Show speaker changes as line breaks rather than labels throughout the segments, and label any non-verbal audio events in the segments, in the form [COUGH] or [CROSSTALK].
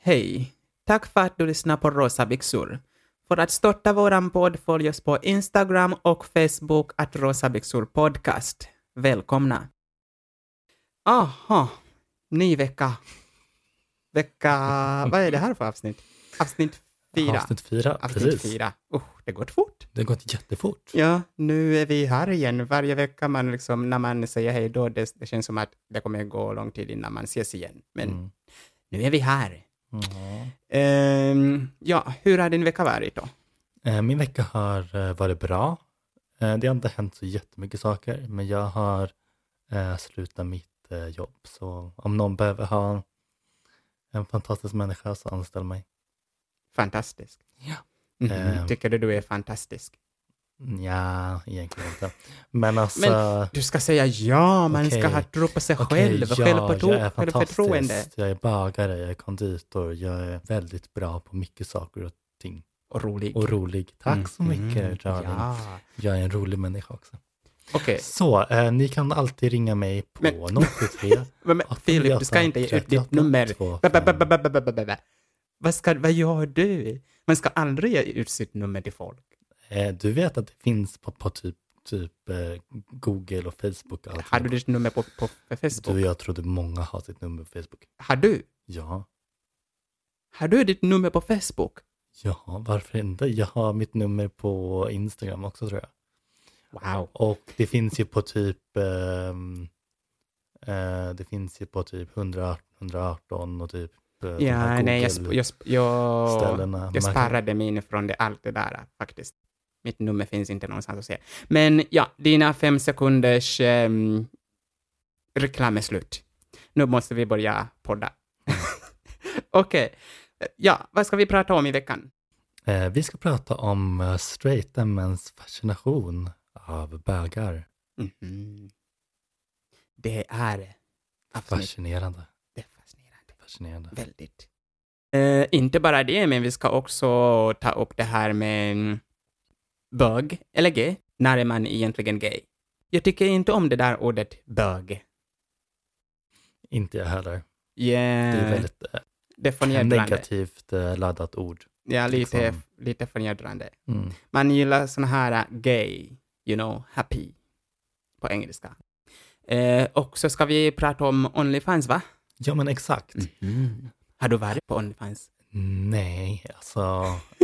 Hej! Tack för att du lyssnar på Rosa byxor. För att stötta våran podd följ oss på Instagram och Facebook att Rosa byxor podcast. Välkomna! Aha, ny vecka. [LAUGHS] Vecka... Vad är det här för avsnitt? Avsnitt fyra.
Avsnitt fyra,
Avsnitt
precis.
fyra. Usch, det går fort.
Det har gått jättefort.
Ja, nu är vi här igen. Varje vecka man liksom, när man säger hej då, det, det känns som att det kommer gå lång tid innan man ses igen. Men
Mm.
nu är vi här.
Ja.
Ehm, ja, hur har din vecka varit då?
Eh, Min vecka har eh, varit bra. Eh, Det har inte hänt så jättemycket saker, men jag har eh, slutat mitt eh, jobb. Så om någon behöver ha en fantastisk människa så anställ mig.
Fantastisk.
Ja.
Mhm.
Ehm.
Tycker du du är fantastisk?
Ja, egentligen inte. Men alltså,
Men- Du ska säga ja, man ska
Okej.
ha tro på sig
okej,
själv,
ja,
självförtro-
jag är
självförtroende.
fantastisk. Jag är bagare, jag är konditor, jag är väldigt bra på mycket saker och ting.
Och rolig.
Och rolig. Tack så
Mm.
mycket, Charlie.
Ja.
Jag är en rolig människa också.
Okej,
Så, eh, ni kan alltid ringa mig på
Men- [LAUGHS]
073
men men Filip, du ska inte ge ut ditt nummer. Ba, ba, ba, ba, ba, ba, ba, ba, ba. Vad, ska, vad gör du? Man ska aldrig ge ut sitt nummer till folk.
Eh, Du vet att det finns på, på typ, typ eh, Google och Facebook. och allt
Har du
sånt.
ditt nummer på, på på
du och
Facebook?
jag trodde många har sitt nummer på Facebook.
Har du?
Ja,
Har du ditt nummer på Facebook?
ja, varför inte? Jag har mitt nummer på Instagram också tror jag.
Wow.
Och det finns ju på typ ehm, eh, det finns ju på typ 100, 118 och typ eh, de
Ja,
här
nej, jag, sp- jag, sp- jag,
Google-ställena.
Jag
Man-
sparrade min från det, allt det där faktiskt. Mitt nummer finns inte någonstans att se. Men ja, dina fem sekunders ehm, reklam är slut. Nu måste vi börja podda. [LAUGHS] Okej. Ja, vad ska vi prata om i veckan?
Eh, vi ska prata om eh, straighta mäns fascination av bögar.
Mhm. Det är avsnitt.
Fascinerande.
Det är fascinerande.
Fascinerande.
Väldigt. Eh, inte bara det, men vi ska också ta upp det här med mm, bög eller gay. När är man egentligen gay? Jag tycker inte om det där ordet bög.
Inte jag heller. Det är
Yeah,
väldigt eh,
det är förnedrande.
negativt eh, laddat ord.
Ja, lite,
liksom.
lite förnedrande.
Mm.
Man gillar såna här uh, gay, you know, happy på engelska. Eh, och så ska vi prata om Onlyfans, va?
Ja, men exakt. Mm-hmm.
Har du varit på Onlyfans?
Nej, alltså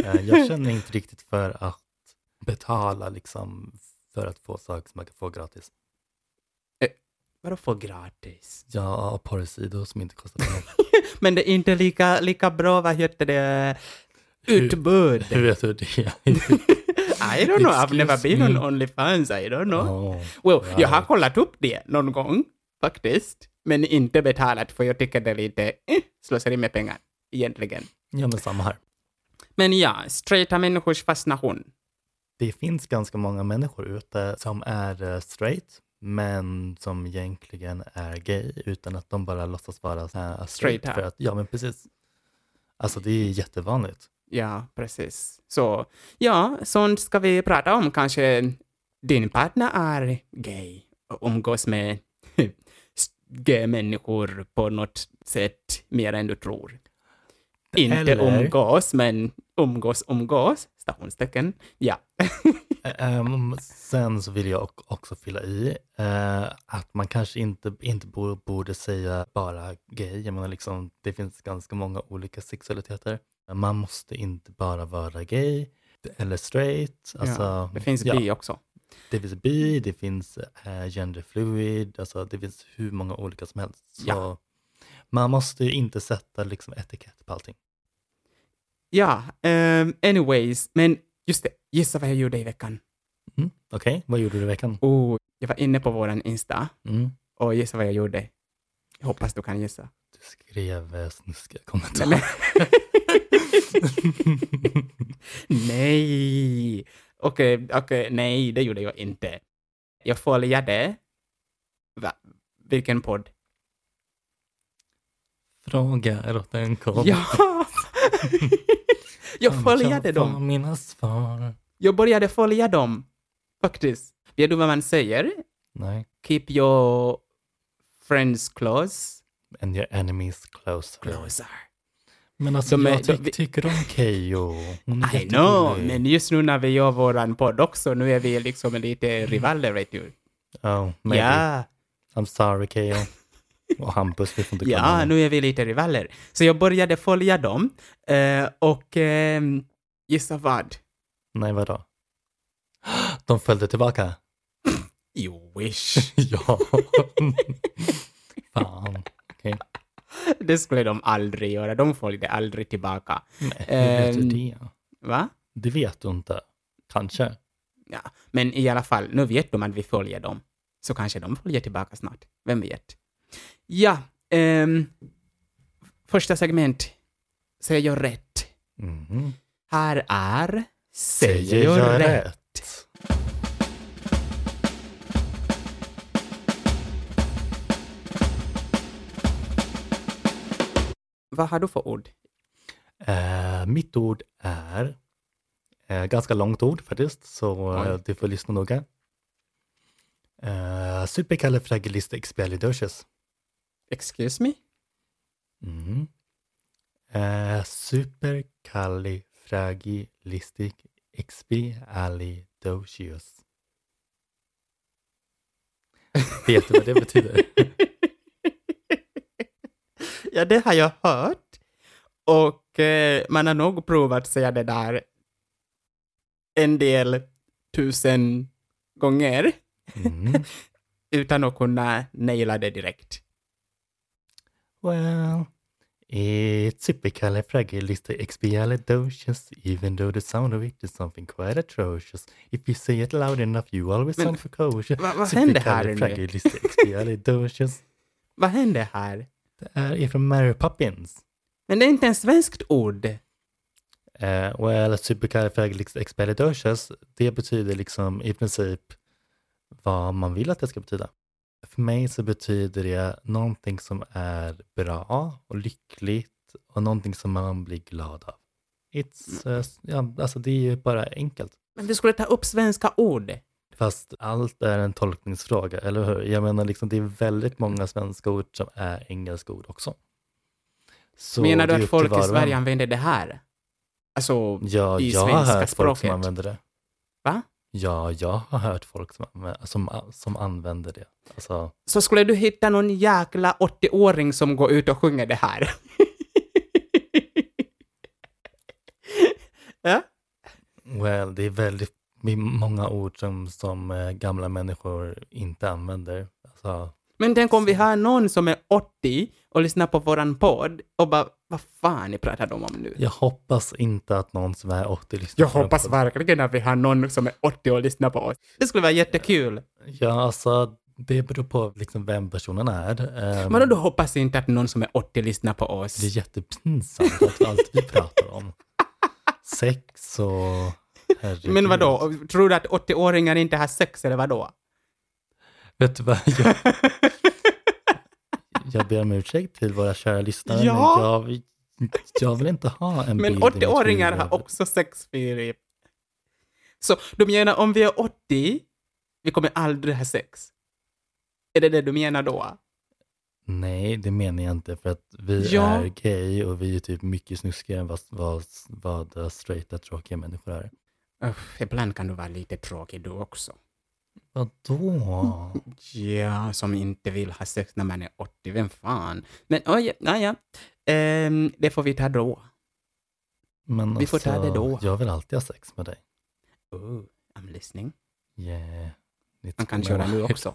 eh, jag känner inte riktigt för att betala liksom för att få saker som man kan få gratis.
Vadå för gratis?
Jag har porrsidor som inte kostar pengar. [LAUGHS]
Men det är inte lika, lika bra, vad heter det, utbud.
Hur vet du det?
I don't know, I've
Excuse
never been on
me.
Onlyfans, I don't know.
Åh,
Well, jag har
right.
kollat upp det någon gång, faktiskt. Men inte betalat, för jag tycker det är lite eh, slöseri med pengar, egentligen.
Ja, men samma här.
Men ja, straighta människors fascination.
Det finns ganska många människor ute som är eh, straight men som egentligen är gay utan att de bara låtsas vara eh, straight.
Straighta.
För att, ja, men precis. Alltså det är jättevanligt.
Ja, precis. Så ja, sånt ska vi prata om. Kanske din partner är gay och umgås med [LAUGHS] gay-människor på något sätt mer än du tror. Inte
Eller-
umgås, men umgås, umgås, stationstecken. Ja.
Eh, ehm, sen så vill jag ock- också fylla i eh, att man kanske inte, inte bo- borde säga bara gay. Jag menar liksom, det finns ganska många olika sexualiteter. Man måste inte bara vara gay eller straight. Alltså,
ja. Det finns
ja.
bi också.
Det finns bi, det finns eh, genderfluid, alltså det finns hur många olika som helst. Så
Ja.
Man måste ju inte sätta liksom etikett på allting.
Ja, ehm, anyways, men just det, gissa vad jag gjorde i veckan?
Mm. Okej, vad gjorde du i veckan?
Oh, jag var inne på våran Insta
Mm.
och gissa vad jag gjorde? Jag hoppas du kan gissa.
Du skrev eh, snuskiga
Nej,
kommentarer.
men-
[LAUGHS]
nej! Okej, okej, nej, det gjorde jag inte. Jag följade... Va? Vilken podd?
Fråga är åt en kopp.
Ja! jag
Som
följade
kan få
dem.
mina svar.
Jag började följa dem, faktiskt. Vet du vad man säger?
Nej.
Keep your friends close.
And your enemies closer.
Closer.
Men alltså
De är-
jag ty-
de- vi-
tycker om Keyyo. Hon är
I know,
jätterolig.
men just nu när vi gör våran podd också, nu är vi liksom lite rivaler, vet du.
Oh, maybe.
Ja,
I'm sorry Keyyo. Och Hampus, vi får inte glömma
ja,
honom.
nu är vi lite rivaler. Så jag började följa dem eh, och ehm, gissa vad?
Nej, vadå? De följde
[LAUGHS]
tillbaka.
You wish.
ja. [LAUGHS] Fan. Okej.
[LAUGHS] det skulle de aldrig göra, de följde aldrig tillbaka.
Nej, hur vet du
Ehm.
det?
Va?
Det vet du inte. Kanske.
Ja, men i alla fall, nu vet de att vi följer dem. Så kanske de följer tillbaka snart. Vem vet? Ja, ehm, första segment. Säger jag rätt?
Mhm.
Här är Säger jag, rätt? Vad har du för ord?
Eh, mitt ord är eh, ganska långt ord faktiskt, så
Oj.
eh, du får lyssna noga. Eh, Supercalifragilisticexpialidocious.
Excuse me?
Mm. Eh, Supercalifragilisticexpialidocious. Vet du vad det betyder?
Ja, det har jag hört. Och eh, man har nog provat säga det där en del tusen gånger
Mm.
utan att kunna naila det direkt.
Well, it's supercalifragilisticexpialidocious, even though the sound of it is something quite atrocious. If you say it loud enough you always
Men-
sound precocious.
Va- vad händer här nu?
Supercalifragilisticexpialidocious.
Vad händer här?
Det här är från Mary Poppins.
Men det är inte en svenskt ord.
Eh, well, supercalifragilisticexpialidocious, det betyder liksom i princip vad man vill att det ska betyda. För mig så betyder det någonting som är bra och lyckligt och någonting som man blir glad av. It's,
Mm.
eh, s- ja, alltså det är ju bara enkelt.
Men vi skulle ta upp svenska ord.
Fast allt är en tolkningsfråga, eller hur? Jag menar, liksom, det är väldigt många svenska ord som är engelska ord också. Så
Menar
det
du
är
att
upp
folk
till var
i
och en.
Sverige använder det här? Alltså,
Ja,
i
jag har
svenska
hört folk som
språket.
använder det.
Va?
Ja, jag har hört folk som, anvä- som, som använder det. Alltså,
så skulle du hitta någon jäkla 80-åring som går ut och sjunger det här? [LAUGHS] ja?
well, det är väldigt det är många ord som, som eh, gamla människor inte använder. Alltså,
Men tänk om vi har någon som är 80 och lyssnar på våran podd och bara, vad fan ni pratar de om nu?
jag hoppas inte att någon som är 80 lyssnar
Jag
på den
hoppas
podden.
verkligen att vi har någon som är 80 och lyssnar på oss. Det skulle vara jättekul.
Ja, alltså, det beror på liksom vem personen är. Ehm,
Men då hoppas inte att någon som är 80 lyssnar på oss.
Det är jättepinsamt att allt vi
[LAUGHS]
pratar om. Sex och... Herregud.
Men vadå, tror du att 80-åringar inte har sex eller vadå?
Vet du vad? Jag, [LAUGHS] jag ber om ursäkt till våra kära lyssnare.
Ja.
Men jag, jag vill inte ha en
Men
bild i mitt
80-åringar
huvud.
har också sex, Filip. Så du menar om vi är 80, vi kommer aldrig ha sex? Är det det du menar då?
Nej, det menar jag inte. För att vi
Ja.
är gay och vi är typ mycket snuskigare än vad, vad, vad straighta, tråkiga människor är.
Uff, ibland kan du vara lite tråkig du också.
Vadå?
Ja, som inte vill ha sex när man är 80, vem fan? Men oj, naja. Ehm, det får vi ta då.
Men alltså,
Vi får ta det då.
Jag vill alltid ha sex med dig.
Oh, I'm listening.
Yeah. It's
Man kan
been a
köra nu
while.
också.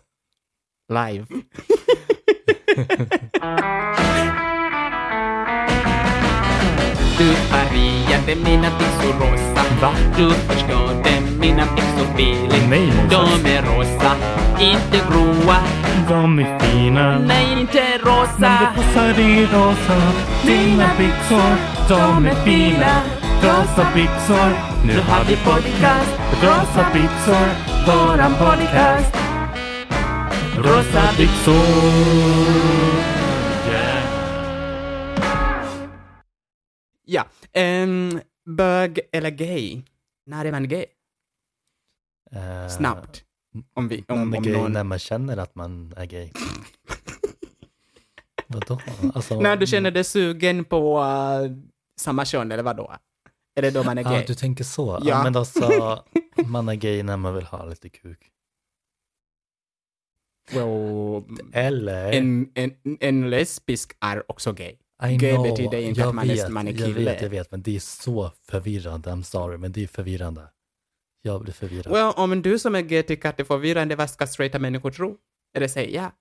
Live. [LAUGHS] Du färgade mina byxor rosa. Va? Du förstörde mina byxor Filip.
Nej, Moses.
De är rosa, inte gråa.
De är fina.
Nej, inte
Men
rosa.
det passar i rosa. Dina byxor, de är fina. Rosa byxor, nu har vi podcast. Rosa byxor, våran podcast. Rosa byxor. Yeah.
Ja. Um, bög eller gay? När är man gay?
Eh,
Snabbt. Om, vi, om,
Om,
om
gay,
någon...
När man känner att man
[LAUGHS]
är gay. Vadå? Alltså,
När du känner dig sugen på eh, samma kön eller vadå? Är det då man är
Ja,
gay?
du tänker så. Ja.
Ja.
men alltså,
[LAUGHS]
man är gay när man vill ha lite kuk.
Wow.
Eller?
En, en, en lesbisk är också gay.
I
gay
know,
betyder inte
jag
att man är-
vet,
man är
Jag
kille.
vet, jag vet, men det är så förvirrande. I'm sorry, men det är förvirrande. Jag blir förvirrad.
Well, om du som är gay tycker att det är förvirrande, vad ska straighta människor tro? Eller säga?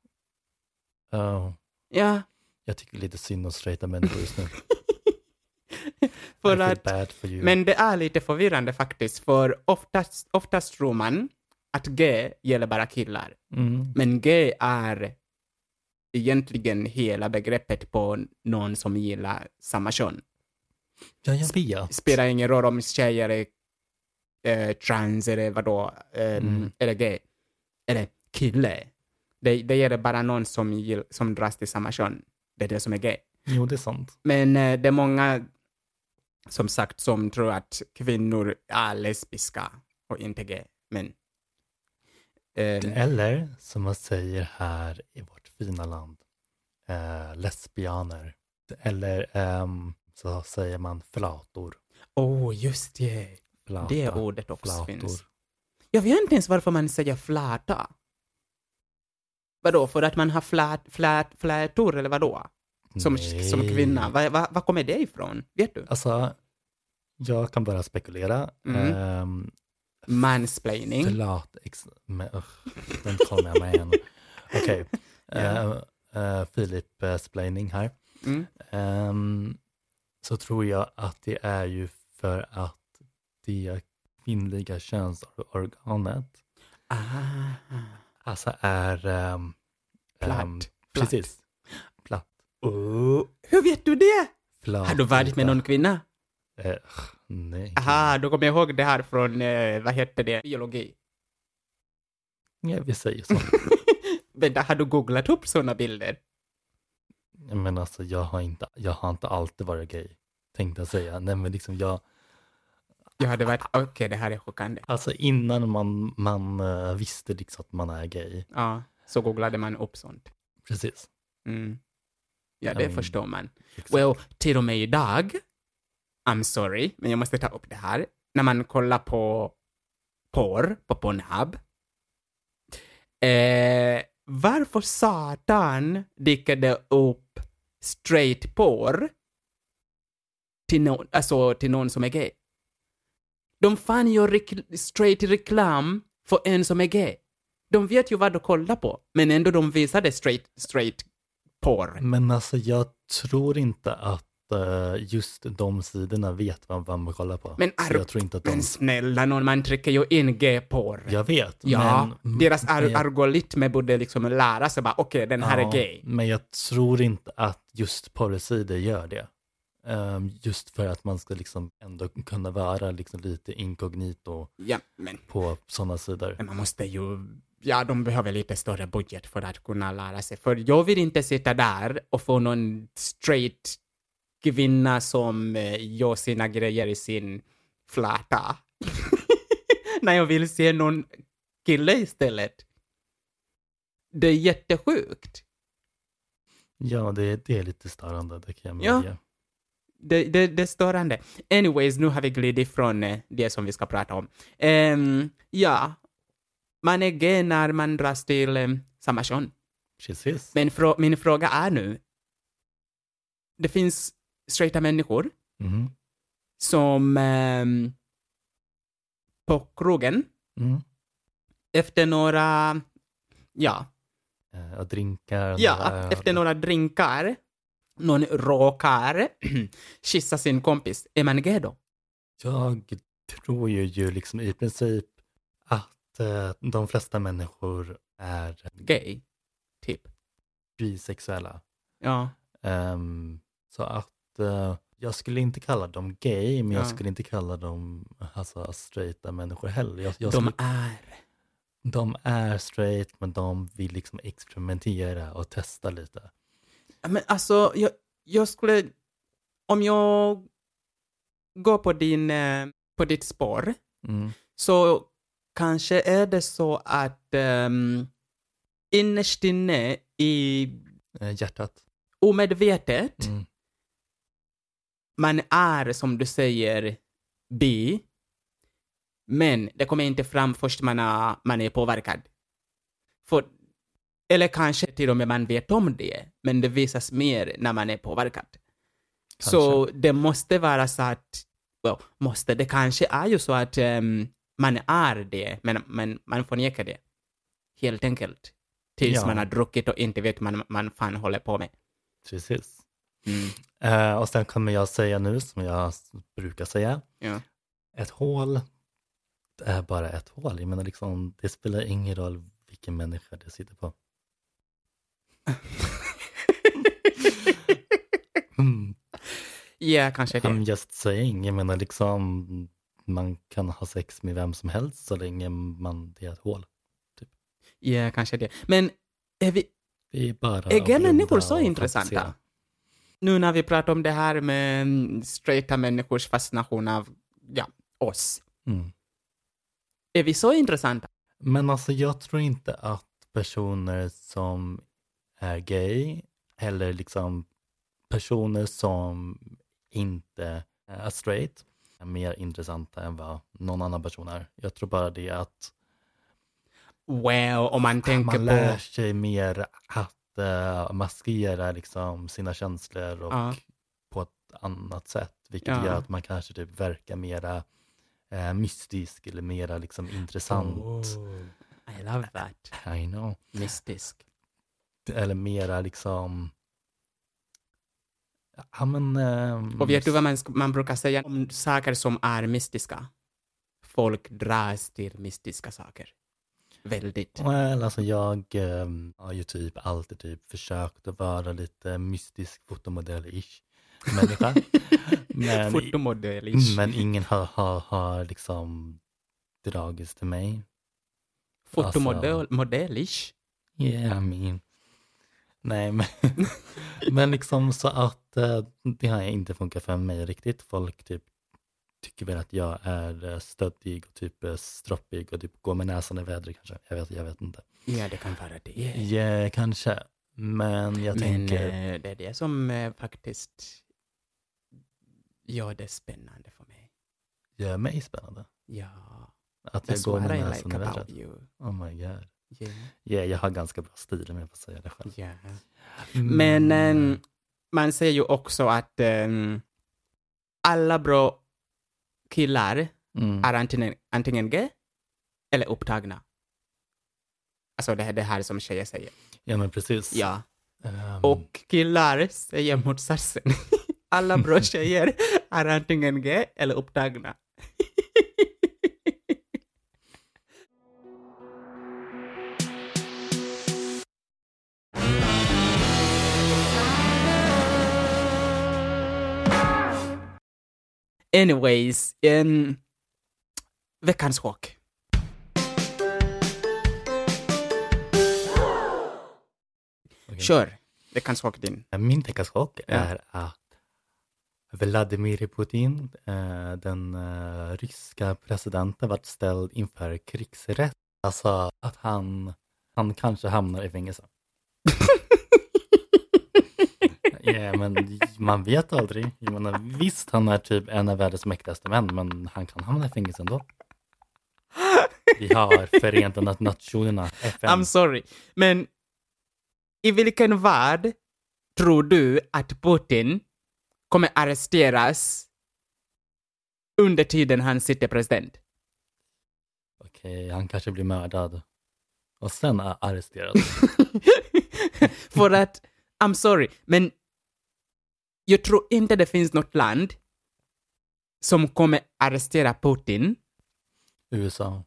Ja.
Ja,
Ja.
Oh,
[LAUGHS]
jag tycker lite synd om straighta människor just nu. I
För
feel
att
bad for you.
Men det är lite förvirrande faktiskt, för oftast, oftast tror man att gay gäller bara killar.
mm.
Men gay är egentligen hela begreppet på någon som gillar samma kön.
Ja, jag vet.
Spelar ingen roll om tjejer är eh, trans eller vadå, eh,
Mm.
eller gay, eller kille. Det, det gäller bara någon som, gill, som dras till samma kön. Det är det som är gay.
Jo, det är sant.
Men eh, det är många, som sagt, som tror att kvinnor är lesbiska och inte gay. Men... Eh,
Eller, som man säger här i vårt fina land, eh, lesbianer. Eller ehm, så säger man flator.
oh, just det.
Flata,
Det ordet också
flator.
finns. Jag vet inte ens varför man säger flata. Vadå, för att man har flät, flät, flätor eller vadå? Som,
Nej.
som kvinna. Vad va, va kommer det ifrån? Vet du?
Alltså, jag kan bara spekulera.
Mm.
Ehm,
Mansplaining.
Flat... Ex- men, ugh, den kom
[LAUGHS]
jag med igen. Okej. Eh, eh, Filip uh, Splaining här.
Mm.
Ehm, så tror jag att det är ju för att det kvinnliga könsorganet
Ah.
alltså är... ehm,
Platt.
ehm,
Platt.
Precis. Platt.
Oh. Hur vet du det?
Flat.
Har du varit med någon kvinna?
Eh, ugh, nej.
Aha, då kommer jag ihåg det här från, eh, vad hette det, biologi.
Ja, vi säger så.
Vänta, har du googlat upp sådana bilder?
Men alltså jag har inte, jag har inte alltid varit gay, tänkte jag säga. Nej men liksom jag,
Jag hade varit,
Ah.
okej, det här är chockande.
alltså innan man, man eh, visste liksom att man är gay.
Ja, så googlade man upp sånt.
Precis.
Mm. Ja,
Ja,
det
men-
förstår man.
Exakt.
Well, till och med idag, I'm sorry, men jag måste ta upp det här. När man kollar på porr på Pornhub, eh, varför satan dyker det upp straight porr till någon, alltså till någon som är gay? De fan gör rekl- straight reklam för en som är gay. De vet ju vad de kollar på, men ändå de visar det straight, straight porr.
Men alltså jag tror inte att eh, just de sidorna vet vad, vad man kollar på.
Men
Så
arg-
jag tror inte att de...
Men snälla någon, man trycker ju in G-porr.
jag vet,
Ja,
men...
deras ar-
men jag-
algoritmer borde liksom lära sig bara, okej, den här
ja,
är gay.
Men jag tror inte att just porrsidor gör det. Ehm, just för att man ska liksom ändå kunna vara liksom lite inkognito
Ja, men,
på sådana sidor.
men man måste ju, ja, de behöver lite större budget för att kunna lära sig. För jag vill inte sitta där och få någon straight kvinna som eh, gör sina grejer i sin flata. [LAUGHS] När jag vill se någon kille istället. Det är jättesjukt.
Ja, det, det är lite störande, det kan jag
Ja.
medge.
det, det, det är störande. Anyways, nu har vi glidit från eh, det som vi ska prata om. Ehm, ja, man är gay när man dras till eh, samma kön.
Precis.
Men frå- min fråga är nu, det finns straighta människor
Mhm.
som ehm, på krogen
Mm.
efter några, ja,
Eh, Och drinkar.
Ja,
några öl.
efter några drinkar, någon råkar [CLEARS THROAT] kyssa sin kompis. Är man gay då?
Jag tror ju, ju liksom i princip att eh, de flesta människor är
Gay, typ.
bisexuella.
Ja.
Ehm, så att eh, jag skulle inte kalla dem gay, men jag
Ja.
skulle inte kalla dem alltså, straighta människor heller. Jag, jag
de
skulle,
är.
de är straight, men de vill liksom experimentera och testa lite.
Men alltså, jag, jag skulle... Om jag går på, din, eh, på ditt spår
Mm.
så kanske är det så att um, innerst inne i
Eh, hjärtat.
omedvetet
Mm.
man är, som du säger, bi, men det kommer inte fram först man, är, man är påverkad. För, eller kanske till och med man vet om det, men det visas mer när man är påverkad.
Kanske.
Så det måste vara så att, well, måste, det kanske är ju så att ehm, man är det, men, men man förnekar det. Helt enkelt. Tills
Ja.
man har druckit och inte vet vad man, man fan håller på med.
Precis.
Mm.
Eh, och sen kommer jag säga nu, som jag s- brukar säga,
Ja.
ett hål är bara ett hål. Jag menar liksom, det spelar ingen roll vilken människa det
[LAUGHS]
sitter på. Mm.
Ja, kanske det.
I'm Mm, just saying, jag menar liksom, man kan ha sex med vem som helst så länge man, det är ett hål.
Ja, E, kanske det. Men är, vi,
Det är bara
är
att
gay människor
blunda
så
och
intressanta?
fantisera.
Nu när vi pratar om det här med mm, straighta människors fascination av ja, oss.
Mm.
Är vi så intressanta?
Men alltså jag tror inte att personer som är gay eller liksom personer som inte är straight är mer intressanta än vad någon annan person är. Jag tror bara det att
Well, om man tänker
Ah, man
på...
lär sig mer att eh, maskera liksom sina känslor och
Ja.
på ett annat sätt, vilket
Ja.
gör att man kanske typ verkar mera eh, mystisk eller mera liksom intressant.
Oh. I love that.
I know.
Mystisk.
eller mera liksom... Ja, men... ehm,
Och vet du vad man, sk- man brukar säga om saker som är mystiska? Folk dras till mystiska saker. Väldigt.
Well, alltså jag ehm, har ju typ alltid typ försökt att vara lite mystisk fotomodell-ish
[LAUGHS]
människa. men,
Fotomodell-ish.
men ingen har, har, har liksom dragits till mig. alltså-
Fotomodell- modell-ish.
Yeah, I mean. Nej, men, [LAUGHS] men liksom så att eh, det har inte funkat för mig riktigt. Folk typ tycker väl att jag är eh, stöddig och typ eh, stroppig och typ går med näsan i vädret kanske. Jag vet, jag vet inte.
Ja, det kan vara det.
Yeah, kanske. Men jag
Men
tänker,
eh, det är det som eh, faktiskt gör det spännande för mig.
gör mig spännande.
Ja,
Att jag
that's
går
what
med
I
näsan
like
i vädret.
about you.
Oh my god.
Yeah.
Yeah, jag har ganska bra stil om jag får säga det själv.
Yeah. Men
Mm.
eh, man säger ju också att eh, alla bra killar
Mm.
är antingen, antingen gay eller upptagna. Alltså det här, det här som tjejer säger.
Ja, men precis.
Ja.
Ehm,
Och killar säger motsatsen. [LAUGHS] Alla bra tjejer är antingen gay eller upptagna. [LAUGHS] Anyways, um, veckans chock.
okej.
Kör veckans chock din.
Eh, Min veckans chock
Ja.
är att Vladimir Putin, eh, den eh, ryska presidenten, varit ställd inför krigsrätt. Alltså att han, han kanske hamnar i fängelse.
[LAUGHS]
Ja, men man vet aldrig. Jag menar, visst, han är typ en av världens mäktigaste män, men han kan hamna i fängelse ändå. Vi har Förenta Na- Nationerna,
[LAUGHS]
FN.
I'm sorry. Men i vilken värld tror du att Putin kommer arresteras under tiden han sitter president?
Okej, han kanske blir mördad. Och sen är arresterad.
För att, I'm sorry, men jag tror inte det finns något land som kommer arrestera Putin
USA.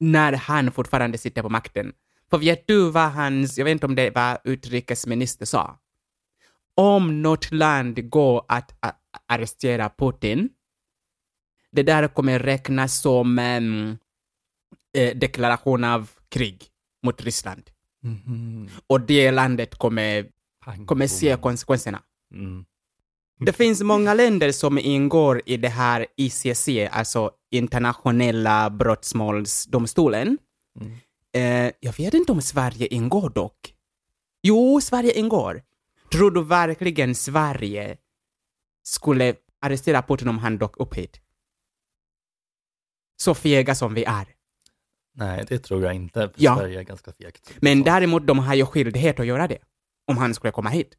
när han fortfarande sitter på makten. För vet du vad hans, jag vet inte om det var utrikesminister sa? Om något land går att a- arrestera Putin, det där kommer räknas som en eh, deklaration av krig mot Ryssland.
Mhm.
Och det landet kommer,
Pang,
kommer se
bom.
konsekvenserna.
Mm.
Det finns många länder som ingår i det här ICC, alltså internationella brottmålsdomstolen.
Mm.
Eh, jag vet inte om Sverige ingår dock. Jo, Sverige ingår. Tror du verkligen Sverige skulle arrestera Putin om han dök upp hit. Så fega som vi är.
Nej, det tror jag inte. För
Ja.
Sverige är ganska fegt.
Men
Så-
däremot, de har ju skyldighet att göra det. Om han skulle komma hit.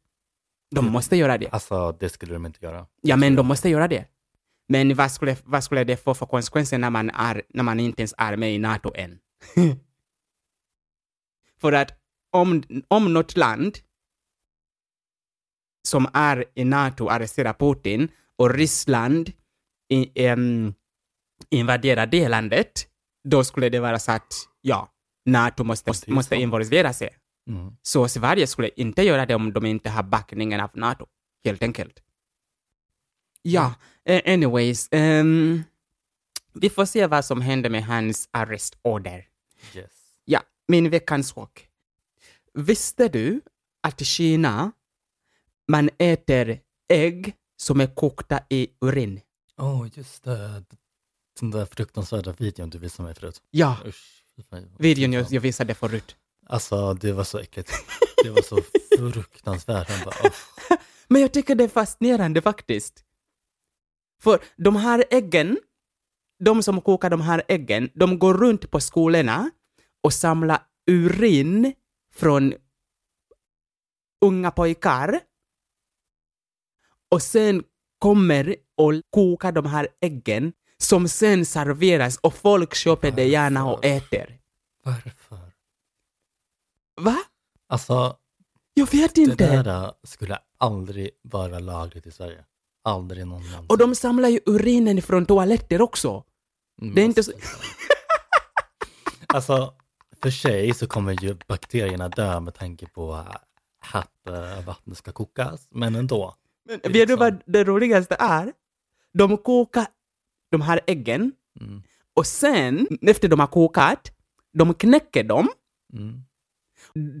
De
Mm.
måste göra det.
Alltså, det skulle de inte göra.
Ja, men de måste göra det. Men vad skulle, vad skulle det få för konsekvenser när man, är, när man inte ens är med i NATO än? [LAUGHS] för att om, om något land som är i NATO arresterar Putin och Ryssland i, em, invaderar det landet, då skulle det vara så att ja, NATO måste,
Precis.
måste involvera sig.
Mm.
Så Sverige skulle inte göra det om de inte har backningen av NATO, helt enkelt. Ja, eh, anyways. ehm, vi får se vad som händer med hans arrestorder.
Yes.
Ja, min veckans chock. Visste du att i Kina, man äter ägg som är kokta i urin?
Åh, oh, just det. Den där fruktansvärda videon du visade mig förut.
Ja,
Usch. fy fan.
videon jag, jag visade förut.
Alltså, det var så äckligt. Det var så fruktansvärt. Man bara, åh.
Men jag tycker det är fascinerande faktiskt. För de här äggen, de som kokar de här äggen, de går runt på skolorna och samlar urin från unga pojkar. Och sen kommer och kokar de här äggen som sen serveras och folk köper det gärna och äter.
Varför?
Va?
Alltså,
Jag vet
det
inte.
där skulle aldrig vara lagligt i Sverige. Aldrig någonsin.
Och de samlar ju urinen från toaletter också.
Mm,
det är inte så-
Alltså, för sig så kommer ju bakterierna dö med tanke på äh, att äh, vattnet ska kokas, men ändå.
Men
Det är
vet du vad
sant.
det roligaste är? De kokar de här äggen
Mm,
och sen, efter de har kokat, de knäcker dem,
mm.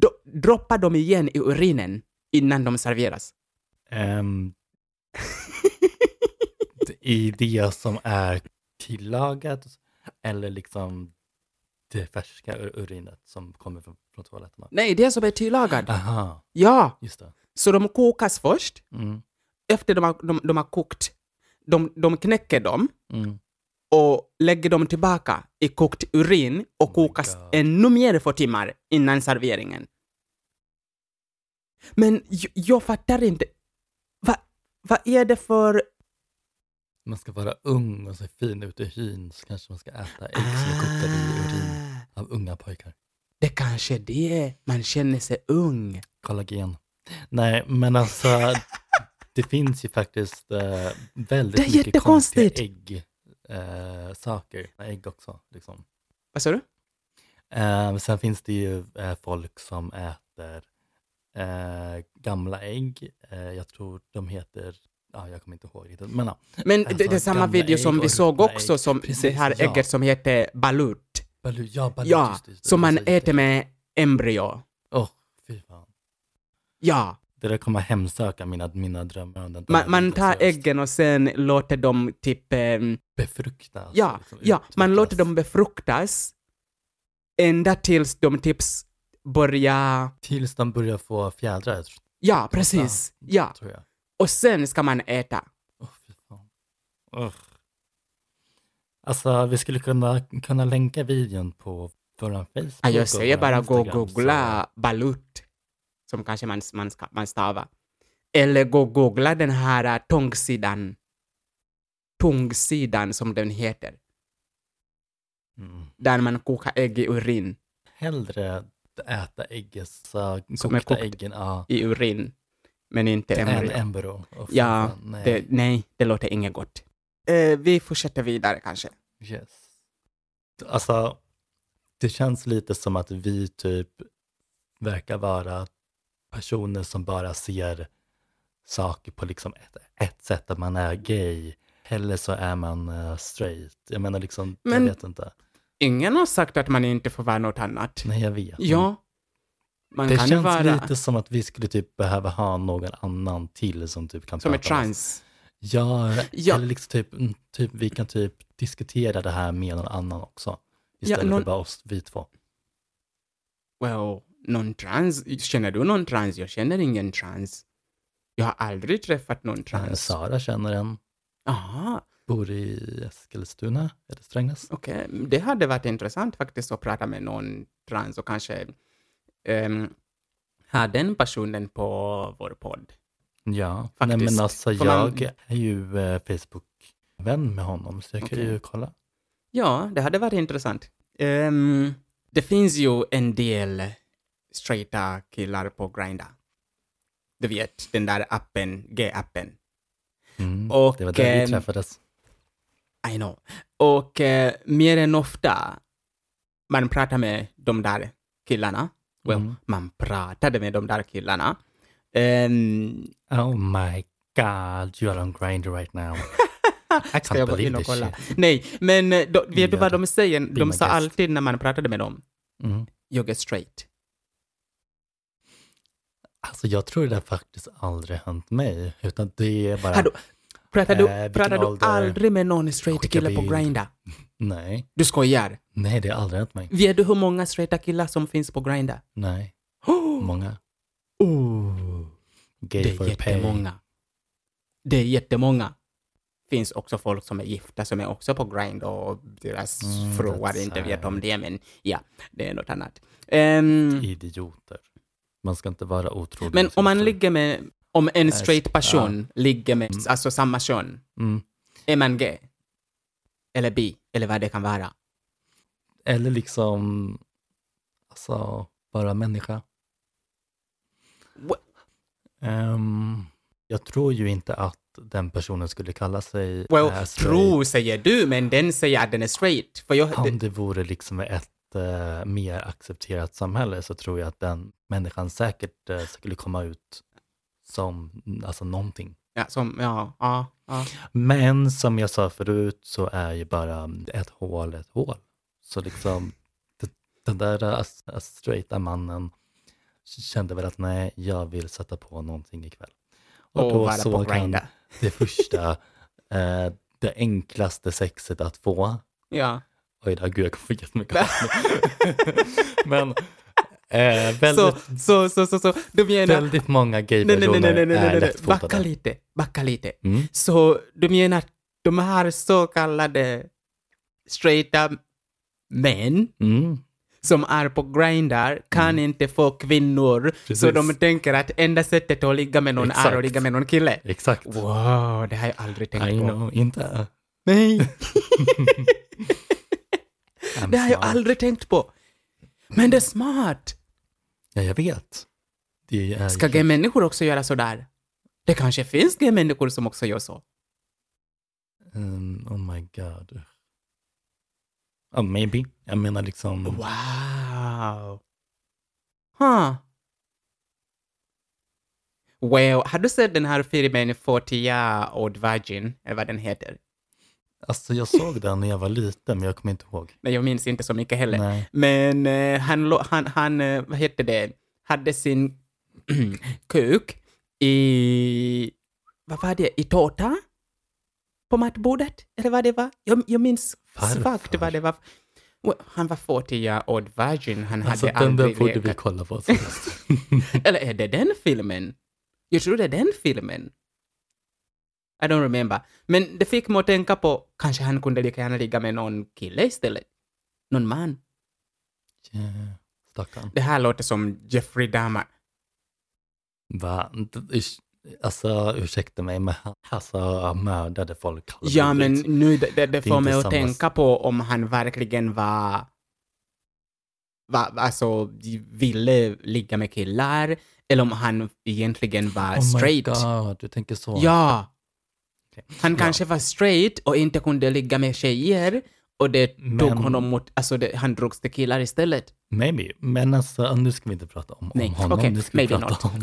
do, droppar dem igen i urinen innan de serveras.
Ehm, det- I det som är tillagat eller liksom det färska ur- urinet som kommer från, från toaletterna.
Nej, det som är tillagad.
Aha,
Ja,
just det.
så de kokas först,
Mm,
efter de har, de, de har kokt, de, de knäcker dem
mm.
och lägger dem tillbaka i kokt urin och
Oh my
kokas
God.
ännu mer för timmar innan serveringen. Men jag, jag fattar inte. Va, vad är det för...
Man ska vara ung och se fin ut i hyn så kanske man ska äta ägg som är kokade i urin
Ah,
av unga pojkar.
Det kanske är det. Man känner sig ung.
Kollagen. Nej, men alltså
[LAUGHS]
det finns ju faktiskt eh,
Det är
väldigt mycket konstiga
jättekonstigt.
ägg, eh, saker. Ägg också, liksom.
Vad sa du?
Eh, sen finns det ju eh, folk som äter eh, gamla ägg. Eh, jag tror de heter, ja jag kommer inte ihåg riktigt, men ja,
Men
Alltså,
det, det är samma
gamla
video
ägg
som
och
vi såg
ruttna
också,
ägg.
som
Precis,
det här
ja.
ägget som heter balut.
balut, ja, balut,
Ja, typ.
just det, just det,
som man
just det, just det.
äter med embryo.
Åh, fy fan.
Ja.
Det där kommer hemsöka mina, mina drömmar Alltså, om den där
Man, man tar
seriöst.
äggen och sen låter dem typ... ehm,
Befruktas.
Ja,
liksom,
ja, man
utvecklas.
låter dem befruktas ända tills de tips börjar...
Tills de börjar få fjädrar,
Ja, precis. Ja,
tror jag.
och sen ska man äta.
Åh, fy fan. Ugh. Alltså, vi skulle kunna, kunna länka videon på vår Facebook.
Ja, jag
och
säger
vår
bara gå och
Instagram,
googla balut, som kanske man, man, ska, man stavar. Eller gå och googla den här uh, tångsidan. Tångsidan som den heter,
så- Mm.
där man kokar ägg i urin.
Hellre äta ägget, så
Som är
kokta
kokt.
äggen, ja.
I urin, men inte
Än
embryo.
embryo. Åh, fy
Ja,
fan, nej.
Det, nej, det låter inget gott. Eh, vi fortsätter vidare kanske.
Yes. Alltså, det känns lite som att vi typ verkar vara personer som bara ser saker på liksom ett, ett sätt, att man är gay, eller så är man eh, straight. Jag menar liksom,
Men-
jag vet inte.
Ingen har sagt att man inte får vara något annat.
Nej, jag vet.
Ja, man
det
kan ju
känns
vara
lite som att vi skulle typ behöva ha någon annan till som typ kan
som är
prata om oss.
trans.
Ja,
Ja.
eller liksom typ, mm, typ, vi kan typ diskutera det här med någon annan också. Istället
någon-
för bara oss, vi två.
Well, någon trans. Känner du någon trans? Jag känner ingen trans. Jag har aldrig träffat någon trans.
Eh, Sara känner en,
Aha,
bor i Eskilstuna, eller Strängnäs.
okej. Det hade varit intressant faktiskt att prata med någon trans och kanske um, ha den personen på vår podd.
Ja, Nej,
Faktiskt.
men alltså
Får man-
jag är ju eh, Facebook-vän med honom, så jag kan
Okej.
ju kolla.
Ja, det hade varit intressant. Ehm, det finns ju en del straighta killar på Grindr. Du vet, den där appen, G-appen.
Mm,
Och,
det var där vi
ehm,
träffades.
I know. Och eh, mer än ofta man pratar med de där killarna. Well,
Mm.
man pratade med de där killarna. Ehm,
Oh my god, you are on Grindr right now. I
ska
can't
jag gå in
believe
och
this
kolla?
shit.
Nej, men eh, då, vet du
Ja,
vad de säger? De
my
sa
guest.
alltid när man pratade med dem,
[LAUGHS] Mm.
jag är straight.
Alltså jag tror det där faktiskt aldrig hänt mig, utan det är bara...
Hallå, Pratar du,
Äh, Eh, vilken
pratar du
ålder?
aldrig med någon straight
Skicka
kille på
bild.
Grindr?
Nej,
Du skojar?
nej det har aldrig hänt mig.
Vet du hur många straighta killar som finns på Grindr? [GASPS]
Nej,
Oh,
många.
oh,
Gay
det är
for pay.
jättemånga. Det är jättemånga. Finns också folk som är gifta som är också på Grindr och deras
Mm,
fruar
that's
inte vet
sad.
om det, men ja, det är något annat. Ehm,
Idioter. Man ska inte vara otrogen.
men
mot sin
om man
fru.
ligger med, om en
Yes,
straight person ligger med, alltså samma kön,
Mm.
är man gay? Eller bi? Eller vad det kan vara?
Eller liksom, alltså, bara människa.
Wha-
Ehm, jag tror ju inte att den personen skulle kalla sig...
Well,
eh, straight
tro säger du, men den säger att den är straight. För jag,
Om
det,
det vore liksom ett eh, mer accepterat samhälle så tror jag att den människan säkert eh, skulle komma ut som alltså någonting.
ja, som, ja, ja, ja.
Men som jag sa förut så är ju bara ett hål ett hål. Så liksom d- den där eh, as- as- straighta mannen kände väl att nej, jag vill sätta på någonting ikväll.
Och,
då
vara på
såg han
Grindr. [LAUGHS]
det första, eh, det enklaste sexet att få
Ja.
Oj då, gud jag kommer
[LAUGHS]
få jättemycket hat. Men eh, väldigt,
Så, så, så, så, så, du menar...
väldigt många
Nej, nej, nej,
gaypersoner
nej, nej, nej,
är
nej, nej. Backa
lättfotade.
lite, backa lite.
Mm.
Så du menar att de här så kallade straighta män
Mm.
som är på Grindr kan inte få kvinnor,
Precis.
så de tänker att enda sättet att ligga med någon är att
Exakt.
ligga med någon kille.
Exakt.
Wow, det har jag aldrig tänkt
I
på.
know, inte.
Nej,
I'm
det har jag
smart.
aldrig tänkt på. Men det är smart.
Ja, jag vet. Det är
Ska gay-människor också göra sådär? Det kanske finns gay-människor som också gör så.
Mm, oh my god. Oh, maybe. Jag menar liksom,
Wow. Huh. Well, har du sett den här filmen 40 year old virgin, eller vad den heter?
alltså jag såg den när jag var liten, men jag kommer inte ihåg.
Nej, jag minns inte så mycket heller.
Nej.
Men eh, han, lo- han, han eh, vad heter det, hade sin [CLEARS THROAT] kuk i, vad var det, i tårta? På matbordet? Eller vad det var? Jag, jag minns svagt
Varför?
vad det var. Well, Han var 40 year old virgin, han
Alltså
hade
den där
aldrig
borde vi
legat.
kolla på. seriöst.
[LAUGHS] Eller är det den filmen? Jag tror det är den filmen. I don't remember. Men det fick mig att tänka på, kanske han kunde lika gärna ligga med någon kille istället. Någon man.
Yeah. Stackarn.
Det här låter som Jeffrey Dahmer.
Va? D- usch- Alltså, ursäkta mig, men han alltså, mördade folk. Oh
Ja, men nu det, det, det
Det är alltså.
får
inte
mig att
samma
tänka på om han verkligen var, var, alltså ville ligga med killar, eller om han egentligen var
oh
straight.
My God, du tänker så.
Ja.
Okej.
Han
Ja.
kanske var straight och inte kunde ligga med tjejer och det tog
Men-
honom mot, alltså det, han drogs till killar istället.
Maybe, men alltså nu ska vi inte prata om,
Nej,
om honom.
okej,
nu ska vi
maybe
prata om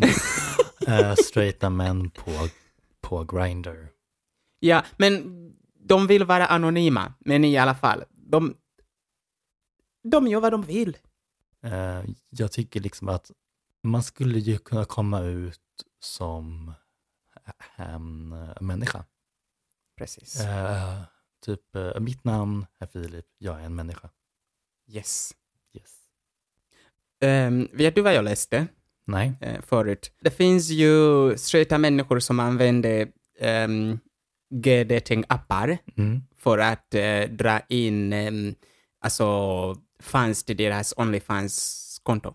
eh, straighta män på, på Grindr.
Ja, men de vill vara anonyma, men i alla fall, de, de gör vad de vill.
Eh, jag tycker liksom att man skulle ju kunna komma ut som en eh, människa.
Precis.
Eh, typ, eh, mitt namn är Filip, jag är en människa.
Yes.
Yes.
Ehm, vet du vad jag läste?
Nej.
eh, förut. Det finns ju straighta människor som använder um, gay-dating-appar
Mm.
för att eh, dra in um, alltså fans till deras Onlyfans-konto.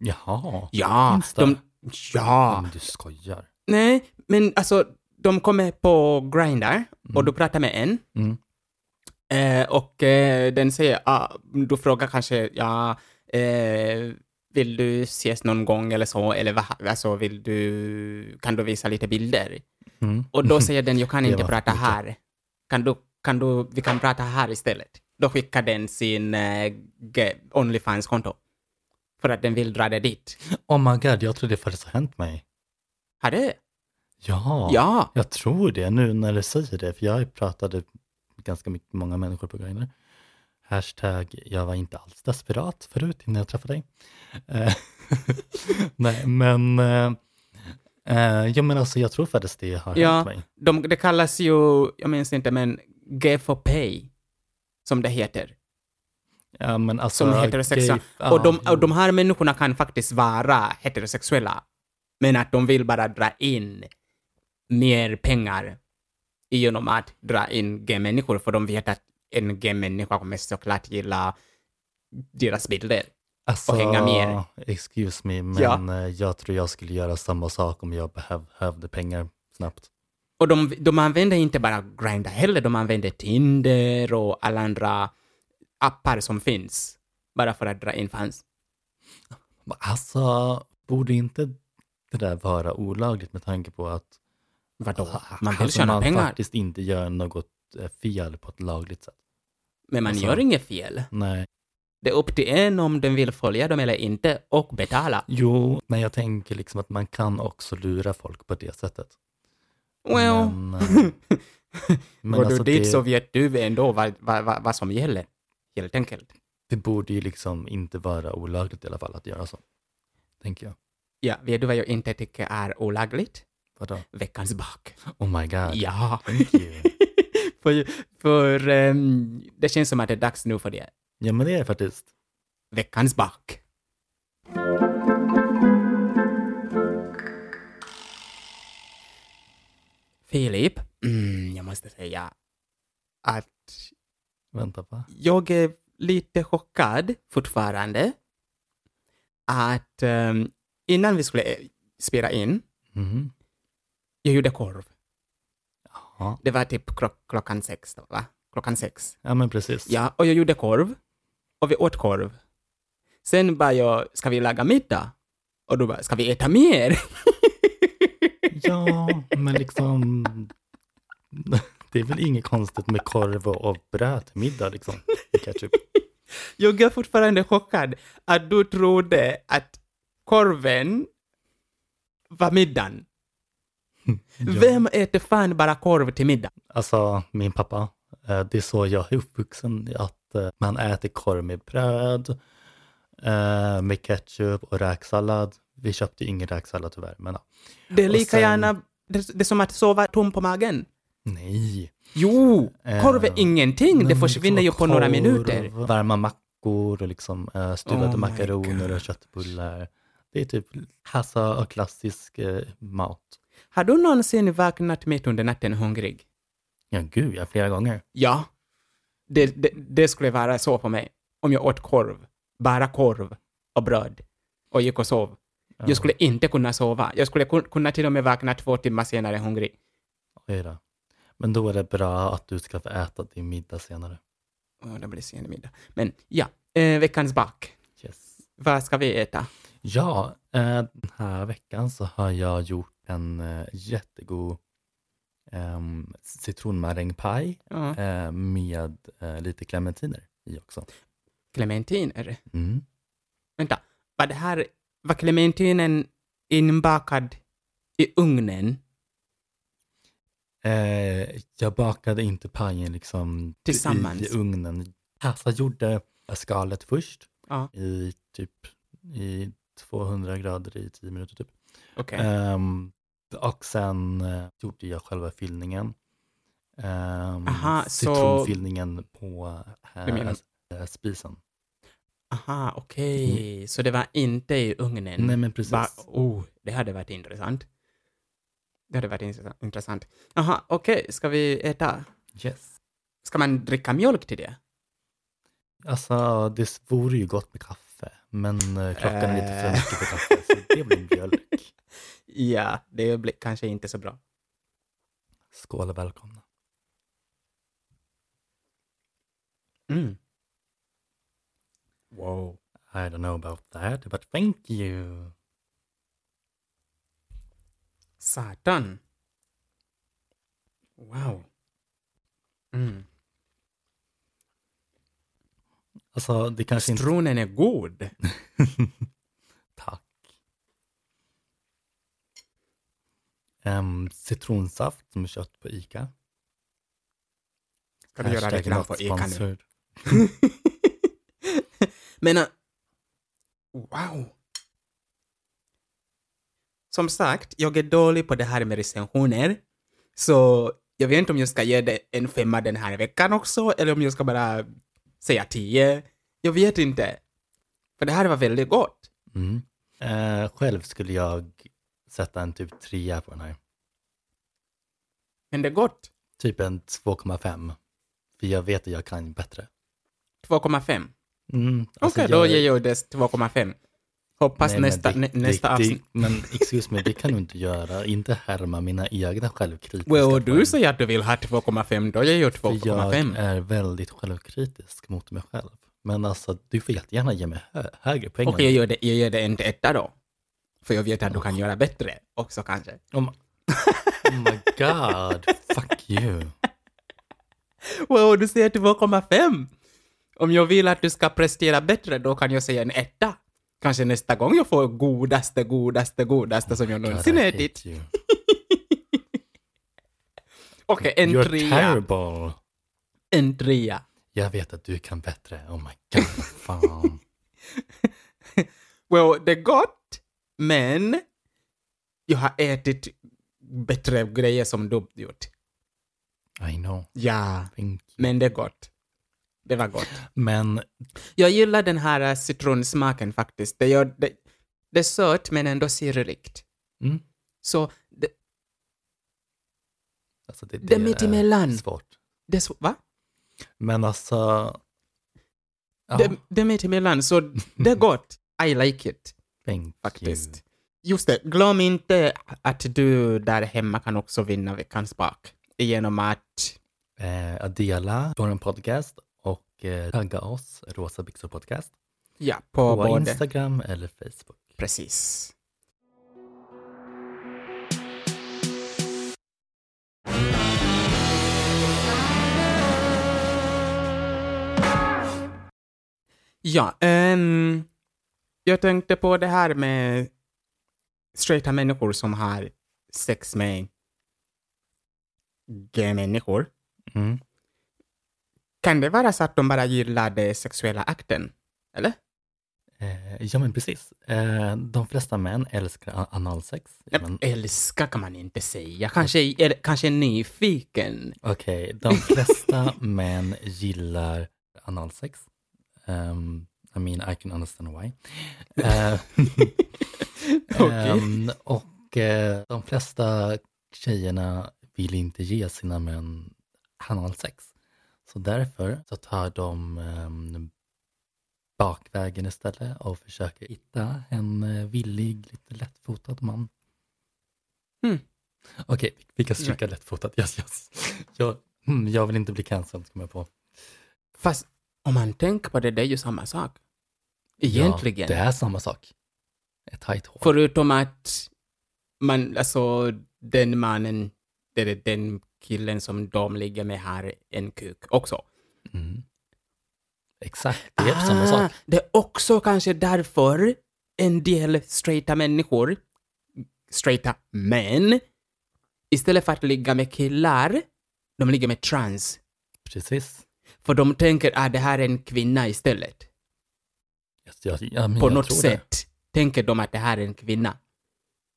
Jaha.
Ja,
Finns det? Mm.
de, ja.
Men du skojar.
Nej, men alltså de kommer på Grindr och du pratar med en
Mm.
eh, och eh, den säger, ah, du frågar kanske, ja, eh, vill du ses någon gång eller så, eller va, alltså vill du, kan du visa lite bilder?
Mm.
Och då säger den, jag kan
Det
inte
var
prata
mycket.
här. Kan du, kan du, vi kan prata här istället. Då skickar den sin eh, ge- Onlyfans-konto. För att den vill dra det dit.
[LAUGHS] Oh my god, jag tror det faktiskt har hänt mig.
Har det?
Ja.
Ja.
Jag tror det nu när du säger det, för jag pratade med ganska mycket, många människor på Grindr. Hashtag, jag var inte alls desperat förut innan jag träffade dig. Eh, [LAUGHS] Nej, men... Eh, eh, jo, men alltså jag tror faktiskt det har
Ja.
hänt mig.
De, det kallas ju, jag minns inte, men gay for pay. Som det heter.
Ja, men alltså,
Som heterosexuella.
gay- Ah, mm.
och, de,
ja,
och de här människorna kan faktiskt vara heterosexuella. Men att de vill bara dra in mer pengar genom att dra in gay-människor, för de vet att en gay-människa kommer såklart gilla deras bilder.
alltså,
och hänga mer.
Excuse me, men
Ja.
eh, jag tror jag skulle göra samma sak om jag behöv, behövde pengar snabbt.
Och de, de använder inte bara Grindr heller, de använder Tinder och alla andra appar som finns. Bara för att dra in fans.
Men Alltså, borde inte det där vara olagligt med tanke på att
Vadå?
Alltså,
Man vill
alltså,
tjäna
man
pengar,
faktiskt inte gör något eh, fel på ett lagligt sätt.
men man
alltså-
gör inget fel.
Nej.
Det är upp till en om den vill följa dem eller inte och betala.
Jo, men jag tänker liksom att man kan också lura folk på det sättet.
Well, [LAUGHS]
Men, eh, men
går
alltså
du dit
det,
så vet du ändå vad, vad, vad, vad som gäller, helt enkelt.
det borde ju liksom inte vara olagligt i alla fall att göra så. Tänker jag.
Ja, vet du vad jag inte tycker är olagligt?
Vadå?
Veckans bak.
Oh my god.
Ja,
Thank you.
för, för ehm, det känns som att det är dags nu för det.
Ja, men det är det faktiskt.
Veckans bak. Filip, mm, jag måste säga att
Vänta, va?
jag är lite chockad fortfarande att ehm, innan vi skulle eh, spela in,
Mhm.
jag gjorde korv.
Ja.
Det var typ klock, klockan sex, då, va? Klockan sex.
ja, men precis.
Ja, och jag gjorde korv. Och vi åt korv. Sen bara jag, ska vi laga middag? Och du bara, ska vi äta mer? [LAUGHS]
Ja, men liksom... [LAUGHS] Det är väl inget konstigt med korv och och bröd till middag liksom. med
[LAUGHS]
Ketchup.
Jag är fortfarande chockad att du trodde att korven var middagen.
Ja.
Vem äter fan bara korv till middag?
Alltså, min pappa, eh, det är så jag är uppvuxen, att eh, man äter korv med bröd, eh, med ketchup och räksallad. Vi köpte ju ingen räksallad tyvärr, men ja.
Det är
Och
lika
sen-
gärna, det, det är som att sova tom på magen.
nej.
Jo, korv är
Eh,
ingenting, det
Men
försvinner ju
liksom
på några
korv,
minuter.
Varma mackor och liksom eh, stuvade
Oh my
makaroner och köttbullar. Det är typ hassa och klassisk eh, mat.
Har du någonsin vaknat mitt under natten hungrig?
Ja, gud ja, flera gånger.
Ja. Det, det, det skulle vara så på mig. Om jag åt korv, bara korv och bröd och gick och sov. Jag skulle inte kunna sova. Jag skulle kun- kunna till och med vakna två timmar senare hungrig.
Oj då. Men då är det bra att du ska få äta din middag senare.
Oh, det blir sen middag. Men ja, eh, veckans bak.
Yes.
Vad ska vi äta?
Ja, eh, den här veckan så har jag gjort en eh, jättegod um, citronmarängpaj
Ja.
eh, med eh, lite clementiner i också.
Clementiner.
Mm.
Vänta, var det här, var clementinen inbakad i ugnen
Eh, jag bakade inte pajen liksom
Tillsammans.
i ugnen. Hassa gjorde skalet först
Ja.
i typ i 200 grader i 10 minuter typ.
Okej.
Ehm, och sen eh, gjorde jag själva fyllningen. Um,
Aha, så-
citronfyllningen på eh,
Du menar-
eh, spisen.
Aha, okej. Så det var inte i ugnen?
Mm. Nej, men precis.
Va, oh, det hade varit intressant. Det hade varit intressa- intressant. Aha, okej, ska vi äta?
Yes.
Ska man dricka mjölk till det?
Alltså, det vore ju gott med kaffe, men eh, klockan är lite för
Eh.
mycket för kaffe, så det blir
[LAUGHS]
mjölk.
Ja, det blir kanske inte så bra.
Skål och välkomna.
Mm. Wow.
I don't know about that, but thank you.
Satan. Wow. Mm.
Alltså, det kanske inte...
Citronen är god.
Tack. Ehm, citronsaft som är köpt på ICA.
Kan du göra
Hashtag
reklam
not
på Ica nu?
sponsored.
Men... äh, Wow! Som sagt, jag är dålig på det här med recensioner. Så jag vet inte om jag ska ge det en femma den här veckan också, eller om jag ska bara säga tio. Jag vet inte. För det här var väldigt gott.
Mm. Eh, själv skulle jag sätta en typ trea på den här.
Men det är gott.
Typ en 2,5. För jag vet att jag kan bättre.
2,5.
Mm, alltså
Okej, då ger jag det 2,5. Hoppas
Nej, men
nästa,
det-
nä,
det-
nästa
det-
avsnitt.
Men excuse me, det kan du inte göra. Inte härma mina egna självkritiska
Well, du
poäng.
säger att du vill ha 2,5, då ger jag
För jag
2,5.
är väldigt självkritisk mot mig själv. Men alltså, du får jättegärna ge mig hö- högre poäng.
Okej, jag, gör det- jag ger det en etta då. För jag vet att du kan göra bättre också kanske.
Oh, my- oh my god,
[LAUGHS]
fuck you.
Wow, du säger 2,5! Om jag vill att du ska prestera bättre, då kan jag säga en etta. Kanske nästa gång jag får godaste, godaste, godaste som jag någonsin
God, I
ätit.
hate you.
Okej, en
You're
trea.
terrible.
En trea.
Jag vet att du kan bättre. Oh my god, vad fan.
[LAUGHS] Well, det är gott, men jag har ätit bättre grejer som du gjort.
I know.
Ja,
Thank you.
men det är gott. Det var gott.
Men
Jag gillar den här äh, citronsmaken faktiskt. Det, gör, det, det är sött men ändå syrligt.
Mm.
Så det,
alltså det,
det är mitt emellan.
svårt.
det, är så- va?
Men alltså... Ja,
Det, det är mitt emellan, så det är gott. I like it,
thank
faktiskt.
you.
Just det, glöm inte att du där hemma kan också vinna veckans bak genom att...
Eh, att dela vår podcast och eh, tagga oss, Rosa Byxor Podcast,
Ja, på,
på
både...
Instagram eller Facebook.
Precis. Ja, ehm, jag tänkte på det här med straighta människor som har sex med gay-människor.
Mm.
Kan det vara så att de bara gillar den sexuella akten? Eller?
Eh, ja, men precis. Eh, de flesta män älskar a- analsex. Ja, men,
Älska kan man inte säga. Kanske, eller, kanske nyfiken.
Okej, de flesta [LAUGHS] män gillar analsex. Ehm, I mean, I can understand why. Eh,
Okej.
Ehm, och eh, de flesta tjejerna vill inte ge sina män analsex. Så därför så tar de ehm, bakvägen istället och försöker hitta en eh, villig, lite lättfotad man.
Mm.
Okej, vi- vi kan stryka lättfotad. Yes, yes. Jag, mm, jag vill inte bli cancelled, kommer jag på.
Fast om man tänker på det, det är ju samma sak. Egentligen.
Ja, det är samma sak. Ett tajt hår.
Förutom att man, alltså den mannen, det är den killen som de ligger med har en kuk också.
Mm. Exakt, det
Ah.
är samma sak.
Det är också kanske därför en del straighta människor, straighta män, istället för att ligga med killar, de ligger med trans.
Precis.
För de tänker att det här är en kvinna istället.
Yes, jag, ja, men
På
jag
något
tror
sätt tänker de att det här är en kvinna.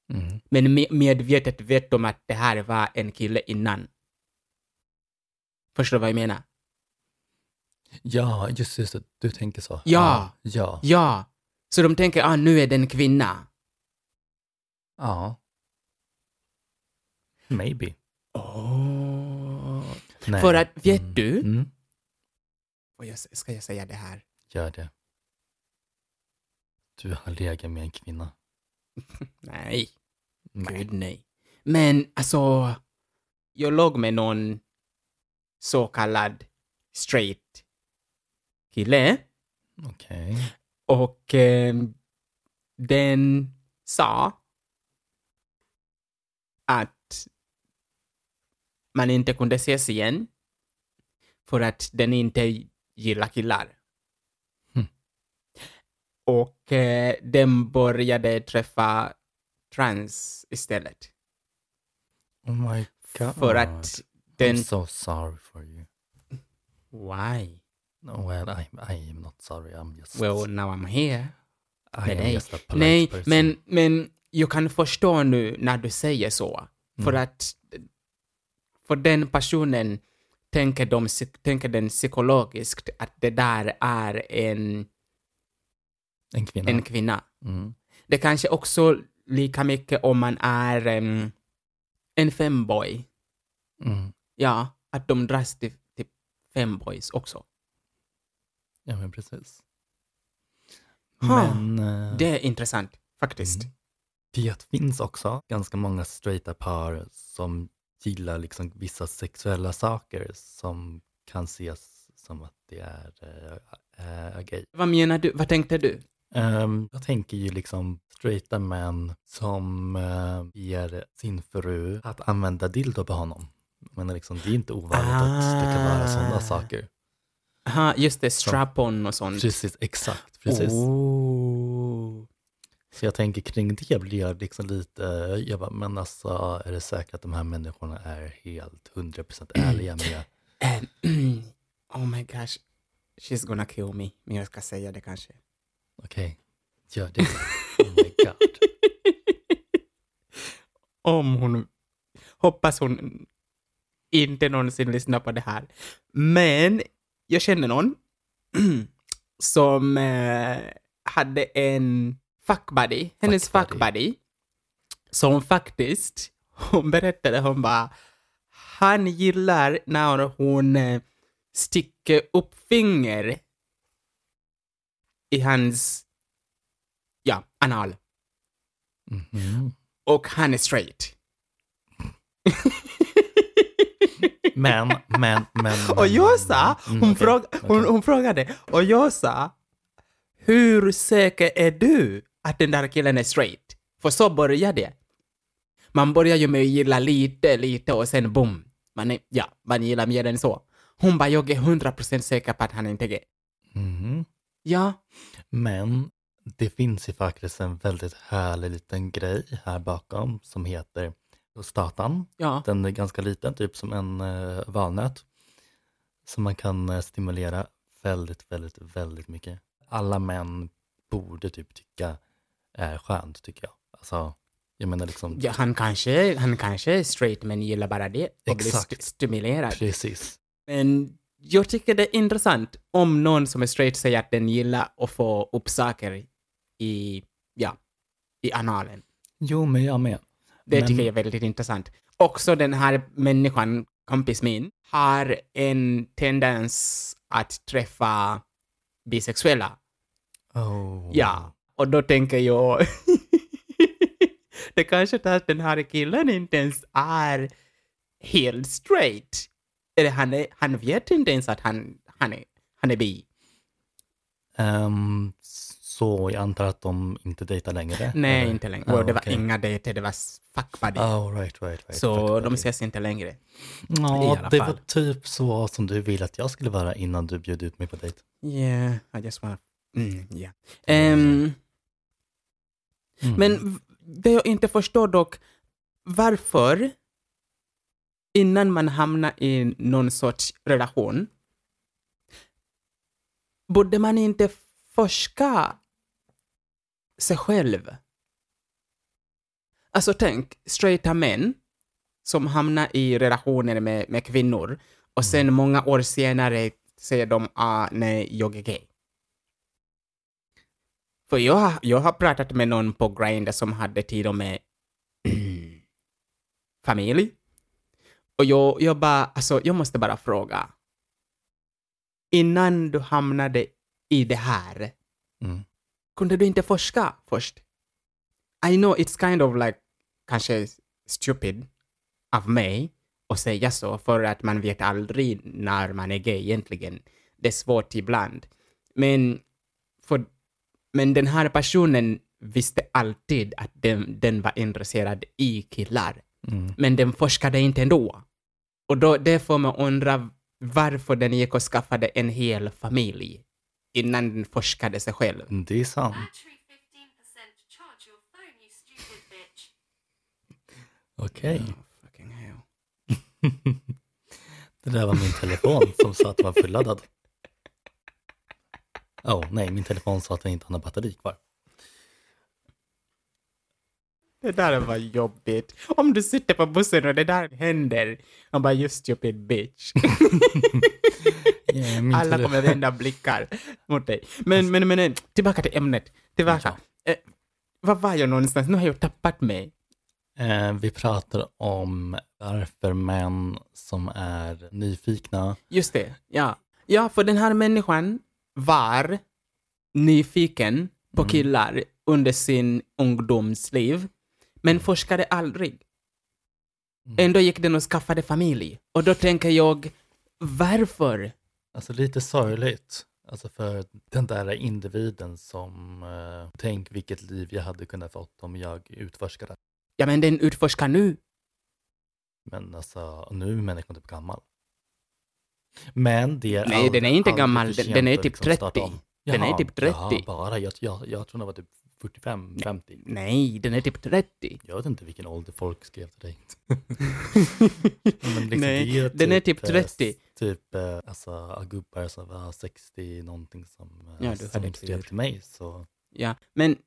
Det. Mm.
Men me- medvetet vet de att det här var en kille innan. Förstår du vad jag menar?
Ja, just, just det. Du tänker så.
Ja.
Ja. Ja.
Ja. Så de tänker, ah, nu är den kvinna.
ja. Maybe.
Oh.
Nej.
För att, vet
Mm.
du?
Mm.
Och jag, ska jag säga det här?
Gör det. Du har legat med en kvinna.
Nej,
Nej.
gud nej. Men alltså, jag låg med någon så kallad straight kille
Okej.
och eh, den sa att man inte kunde ses igen för att den inte gillar killar.
Hmm.
Och eh, den började träffa trans istället.
Oh my god.
För att den...
I'm so sorry for you.
Why?
No, well, I, I am not sorry. I'm just...
Well, now I'm here.
I am
nej.
just a polite
Nej,
person.
men, men jag kan förstå nu när du säger så. För
Mm.
att för den personen tänker, de, psyk- tänker den psykologiskt att det där är en,
En kvinna.
en kvinna.
Mm.
Det kanske också lika mycket om man är em, en femboy.
Mm.
Ja, att de dras till, till femboys också.
Ja, men precis.
Ha,
Men... eh,
Det är intressant, faktiskt.
Mm. Det finns också ganska många straighta par som gillar liksom vissa sexuella saker som kan ses som att det är äh, gay.
Vad menar du? Vad tänkte du?
Ehm, jag tänker ju liksom straighta män som eh, ger sin fru att använda dildo på honom. Men liksom, det är inte ovanligt att det kan vara
Ah.
sådana saker.
Aha, just det, strap-on och sånt.
Precis, exakt. Precis.
Oh.
Så jag tänker kring det blir jag liksom lite, jag bara, men alltså är det säkert att de här människorna är helt 100%
Mm.
ärliga med
Ehm, [CLEARS THROAT] oh my gosh, she's gonna kill me. Men jag ska säga det kanske.
Okej, gör det. Oh
[LAUGHS]
my god.
Om hon... Hoppas hon inte någonsin lyssnar på det här. Men jag känner någon [CLEARS THROAT] som eh, hade en fuckbuddy, hennes
Fuckbuddy.
fuckbuddy, som faktiskt, hon berättade, hon bara, han gillar när hon eh, sticker upp finger i hans, ja, anal.
Mhm.
Och han är straight.
Men, men, men.
[LAUGHS] Och jag sa,
Mm,
hon,
okej,
fråg, hon,
okej.
hon frågade, och jag sa, hur säker är du att den där killen är straight? För så börjar det. Man börjar ju med att gilla lite, lite och sen boom. Man, är, ja, man gillar mer än så. Hon bara, jag är 100% säker på att han inte är gay.
Mhm.
Ja,
Men det finns ju faktiskt en väldigt härlig liten grej här bakom som heter statan.
ja.
Den är ganska liten, typ som en eh, valnöt. Som man kan eh, stimulera väldigt, väldigt, väldigt mycket. Alla män borde typ tycka är skönt, tycker jag. Alltså, jag menar liksom,
ja han, kanske, han kanske är straight men gillar bara det och blir
Exakt.
st- stimulerad.
precis.
Men jag tycker det är intressant om någon som är straight säger att den gillar att få upp saker i, ja, i analen.
Jo, men jag med.
Det
Men-
tycker jag är väldigt intressant. Också den här människan, kompis min, har en tendens att träffa bisexuella.
Oh.
Ja, och då tänker [LAUGHS] jag... det kanske är att den här killen inte ens är helt straight. Eller han, är, han vet inte ens att han, han, är, han är bi.
Ehm, så jag antar att de inte dejtar längre?
Nej,
eller?
inte längre.
Ah,
Och det var
okej.
inga dejter, det var s- fuck buddy.
Oh, right, right, right.
så
Fuck
de
buddy.
ses inte längre. i
Ja,
alla
det
fall.
var typ så som du ville att jag skulle vara innan du bjöd ut mig på dejt.
Yeah, I just wanna... Mm, yeah. Ehm,
Mm.
Men v- det jag inte förstår dock, varför innan man hamnar i någon sorts relation, borde man inte forska sig själv? Alltså tänk, straighta män som hamnar i relationer med, med kvinnor och sen många år senare säger de ah, nej, jag är gay. För jag, har- jag har pratat med någon på Grindr som hade till och med [CLEARS THROAT] familj. Och jag, jag bara, alltså jag måste bara fråga. Innan du hamnade i det här,
Mm.
kunde du inte forska först? I know it's kind of like kanske stupid av mig att säga så för att man vet aldrig när man är gay egentligen. Det är svårt ibland. Men, för, men den här personen visste alltid att den, den var intresserad i killar.
Mm.
Men den forskade inte ändå. Och då, det får man undra varför den gick och skaffade en hel familj innan den forskade sig själv.
Det är sant.
Battery 15% charge your phone, you stupid bitch.
Okej.
Fucking hell.
Det där var min telefon som sa att den var fulladdad. Åh oh, nej, min telefon sa att den inte hade batteri kvar.
Det där var jobbigt. Om du sitter på bussen och det där händer, man bara you stupid bitch.
Yeah, min
Alla
tele-
kommer vända blickar mot dig. Men, men, men, eh, tillbaka till ämnet. Tillbaka. Eh, var var jag någonstans? Nu har jag tappat mig.
Eh, vi pratar om varför män som är nyfikna.
Just det, ja. Ja, för den här människan var nyfiken på killar under sin ungdomsliv, men forskade aldrig. Ändå gick den och skaffade familj. Och då tänker jag, varför?
Alltså lite sorgligt. Alltså för den där individen som, eh, tänk vilket liv jag hade kunnat fått om jag utforskade.
Ja, men den utforskar nu.
Men alltså nu är människan typ gammal. Men det är
Nej,
aldrig-
den är inte
aldrig
gammal.
för
Den-
sent
den är
att liksom
typ
starta om.
30. Den är typ 30.
Jaha, bara. Jag, jag, jag tror den var typ 45, 50.
Nej, den är typ
[LAUGHS]
30.
Jag vet inte vilken ålder folk skrev till dig. [LAUGHS] Men liksom, det
Nej, den är typ
eh,
30.
s- Typ eh, alltså, gubbar som var 60 någonting som, eh,
Ja, du hade
som
tur.
skrev till mig. Så
Ja, men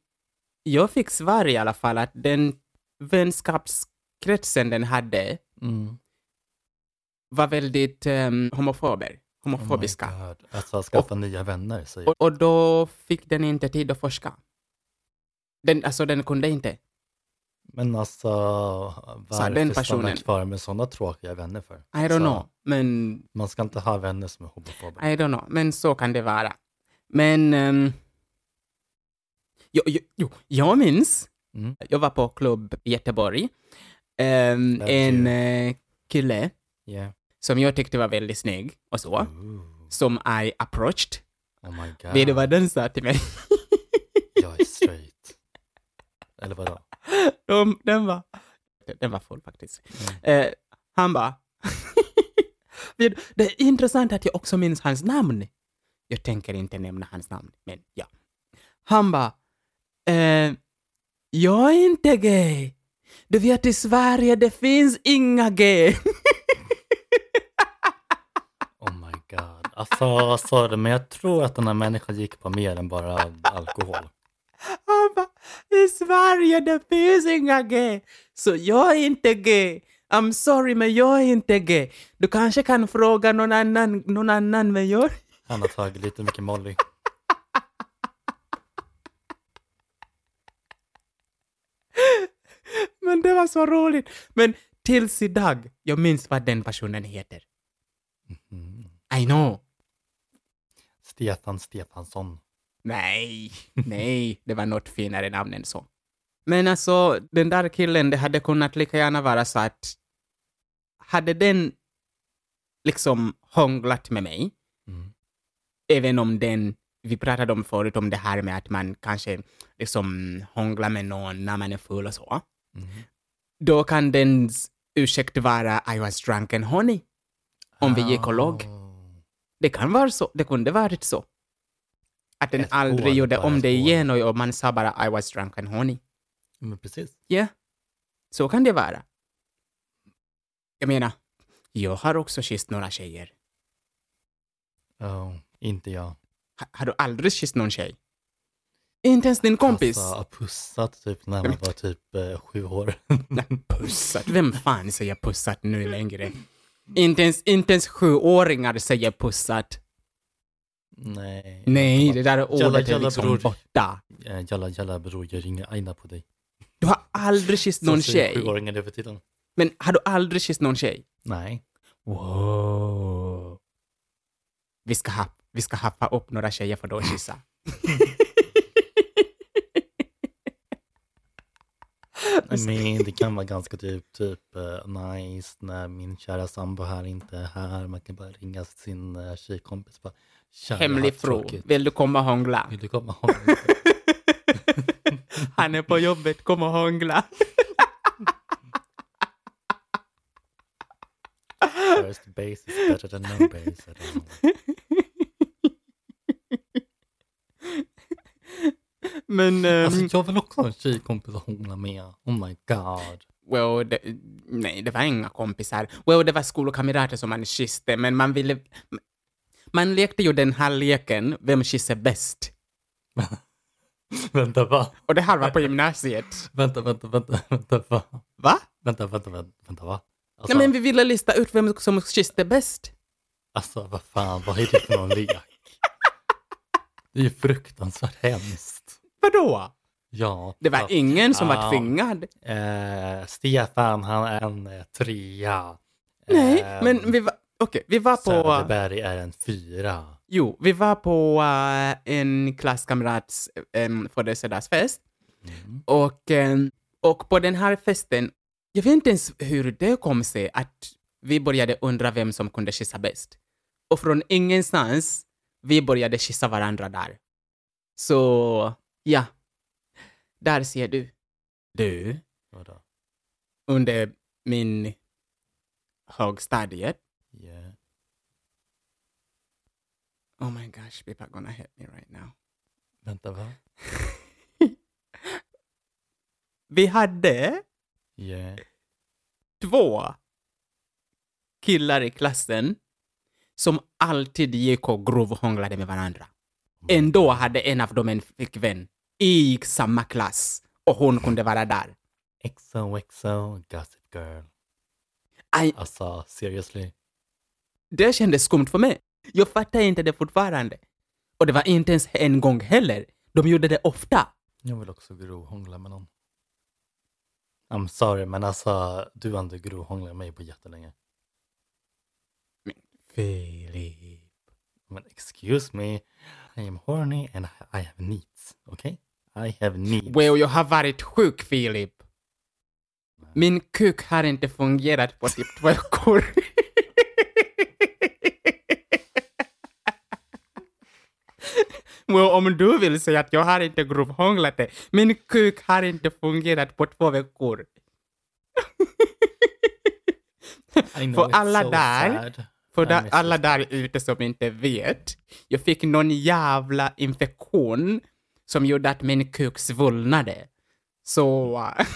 jag fick svar i alla fall att den vänskapskretsen den hade
mm.
var väldigt um, homofober,
oh my
homofobiska.
God. Alltså skaffa nya vänner säger
och, och då fick den inte tid att forska. Den, alltså den kunde inte.
Men alltså varför
den
stanna
personen-
kvar med sådana tråkiga vänner för?
I don't
Så,
know, men
Man ska inte ha vänner som är homofober.
I don't know, men så kan det vara. Men... Um, jo, jo, jo, jag minns,
Mm.
jag var på klubb i Göteborg. Ehm,
Där
en
ser
eh, kille
Yeah.
som jag tyckte var väldigt snygg och så,
Mm. Ooh,
som I approached.
oh my god.
Vet du vad den sa till mig?
Jag är straight. Eller vadå?
De, den, var, den var full faktiskt. Eh, han bara... [LAUGHS] Vet du, det är intressant att jag också minns hans namn. Jag tänker inte nämna hans namn, men ja. Han bara... Eh, jag är inte gay. Du vet i Sverige, det finns inga gay. [LAUGHS]
Oh my god. Alltså, sorry, men jag tror att den här människan gick på mer än bara alkohol.
Han bara, i Sverige det finns inga gay. Så jag är inte gay. I'm sorry, men jag är inte gay. Du kanske kan fråga någon annan, någon annan men jag...
Han har tagit lite mycket Molly.
Men det var så roligt. Men tills idag, jag minns vad den personen heter.
Mm.
I know.
Stefan Stefansson.
Nej, nej, det var något finare namn än så. Men alltså, den där killen, det hade kunnat lika gärna vara så att hade den liksom hånglat med mig,
Mm.
även om den, vi pratade om förut om det här med att man kanske liksom hånglar med någon när man är full och så,
Mm.
då kan dens ursäkt vara I was drunk and honey. Om vi gick och låg.
Oh.
Det kan vara så. Det kunde varit så. Att den
Ett
aldrig
år,
gjorde
bara
om
ett
det
år.
igen och- och man sa bara I was drunk and horny.
Men precis.
Ja, så kan det vara. Jag menar, jag har också kysst några tjejer.
Oh, inte jag.
Ha, har du aldrig kysst någon tjej? Inte ens din kompis?
Alltså, har pussat typ när man var typ eh, sju år.
Nej, pussat. Vem fan säger pussat nu längre? Inte ens, inte ens sjuåringar säger pussat.
Nej.
Nej, det där ordet
Jalla,
är
jalla,
liksom
bror.
borta.
Eh, Jalla jalla bror, jag ringer aina på dig.
Du har aldrig kysst någon
Så säger
tjej.
Sjuåringar nu för tiden.
Men har du aldrig kysst någon tjej?
Nej. Wow.
Vi ska, ha, vi ska happa upp några tjejer för då kyssa.
I mean, det kan vara ganska typ, typ eh, nice när min kära sambo här inte är här. Man kan bara ringa sin uh, tjejkompis och bara "Tja, jag har
Hemlig fru,
tråkigt.
vill du komma och hångla?
Vill du komma ihåg?
Han är på jobbet, kom och hångla.
First base is better than no base at all.
Men... ehm,
Alltså, jag vill också ha en tjejkompis att hångla med. Oh my god.
well, det, nej, det var inga kompisar. Well, det var skolkamrater som man kysste, men man ville... Man lekte ju den här leken, vem kysser bäst?
Vänta, va?
Och det här var på gymnasiet.
Vänta, vänta, vänta, vänta, va?
Va?
Vänta, vänta, vänta, vänta va? Alltså,
Nej, men vi ville lista ut vem som kysste bäst.
alltså vad fan, vad är det för någon lek? Det är ju fruktansvärt hemskt.
Vadå?
Ja.
Det var
ja.
ingen som var
Ah.
tvingad.
Eh, Stefan, han är en eh, trea.
Nej,
Eh,
men vi var... Okej, vi var på...
Söderberg är en fyra.
Jo, vi var på eh, en klasskamrats um, födelsedagsfest.
Mm.
Och, eh, och på den här festen, jag vet inte ens hur det kom sig att vi började undra vem som kunde kyssa bäst. Och från ingenstans, vi började kyssa varandra där. Så, ja. Där ser du. Du,
Vadå?
under min högstadiet.
Yeah.
Oh my gosh, people are gonna hit me right now.
Vänta, va?
Vi hade
Yeah.
två killar i klassen som alltid gick och grovhånglade med varandra. Ändå hade en av dem en flickvän i samma klass och hon kunde vara där.
XOXO, Gossip Girl.
Aj,
Alltså, seriously.
det kändes skumt för mig. Jag fattar inte det fortfarande. Och det var inte ens en gång heller. De gjorde det ofta.
Jag vill också grovhångla med någon. I'm sorry, men alltså du har inte grovhånglat med mig på jättelänge.
Filip.
Men excuse me, I am horny and I have needs. Okej? I have needs.
Well, jag har varit sjuk, Filip. Min kuk har inte fungerat på typ två veckor. [LAUGHS] Well, om du vill säga att jag har inte grovhånglat det. Min kuk har inte fungerat på två veckor.
I know
för
it's
alla
so
där-
sad.
För
Nej,
där,
men
alla där ute som inte vet, jag fick någon jävla infektion som gjorde att min kuk svullnade. Så... äh,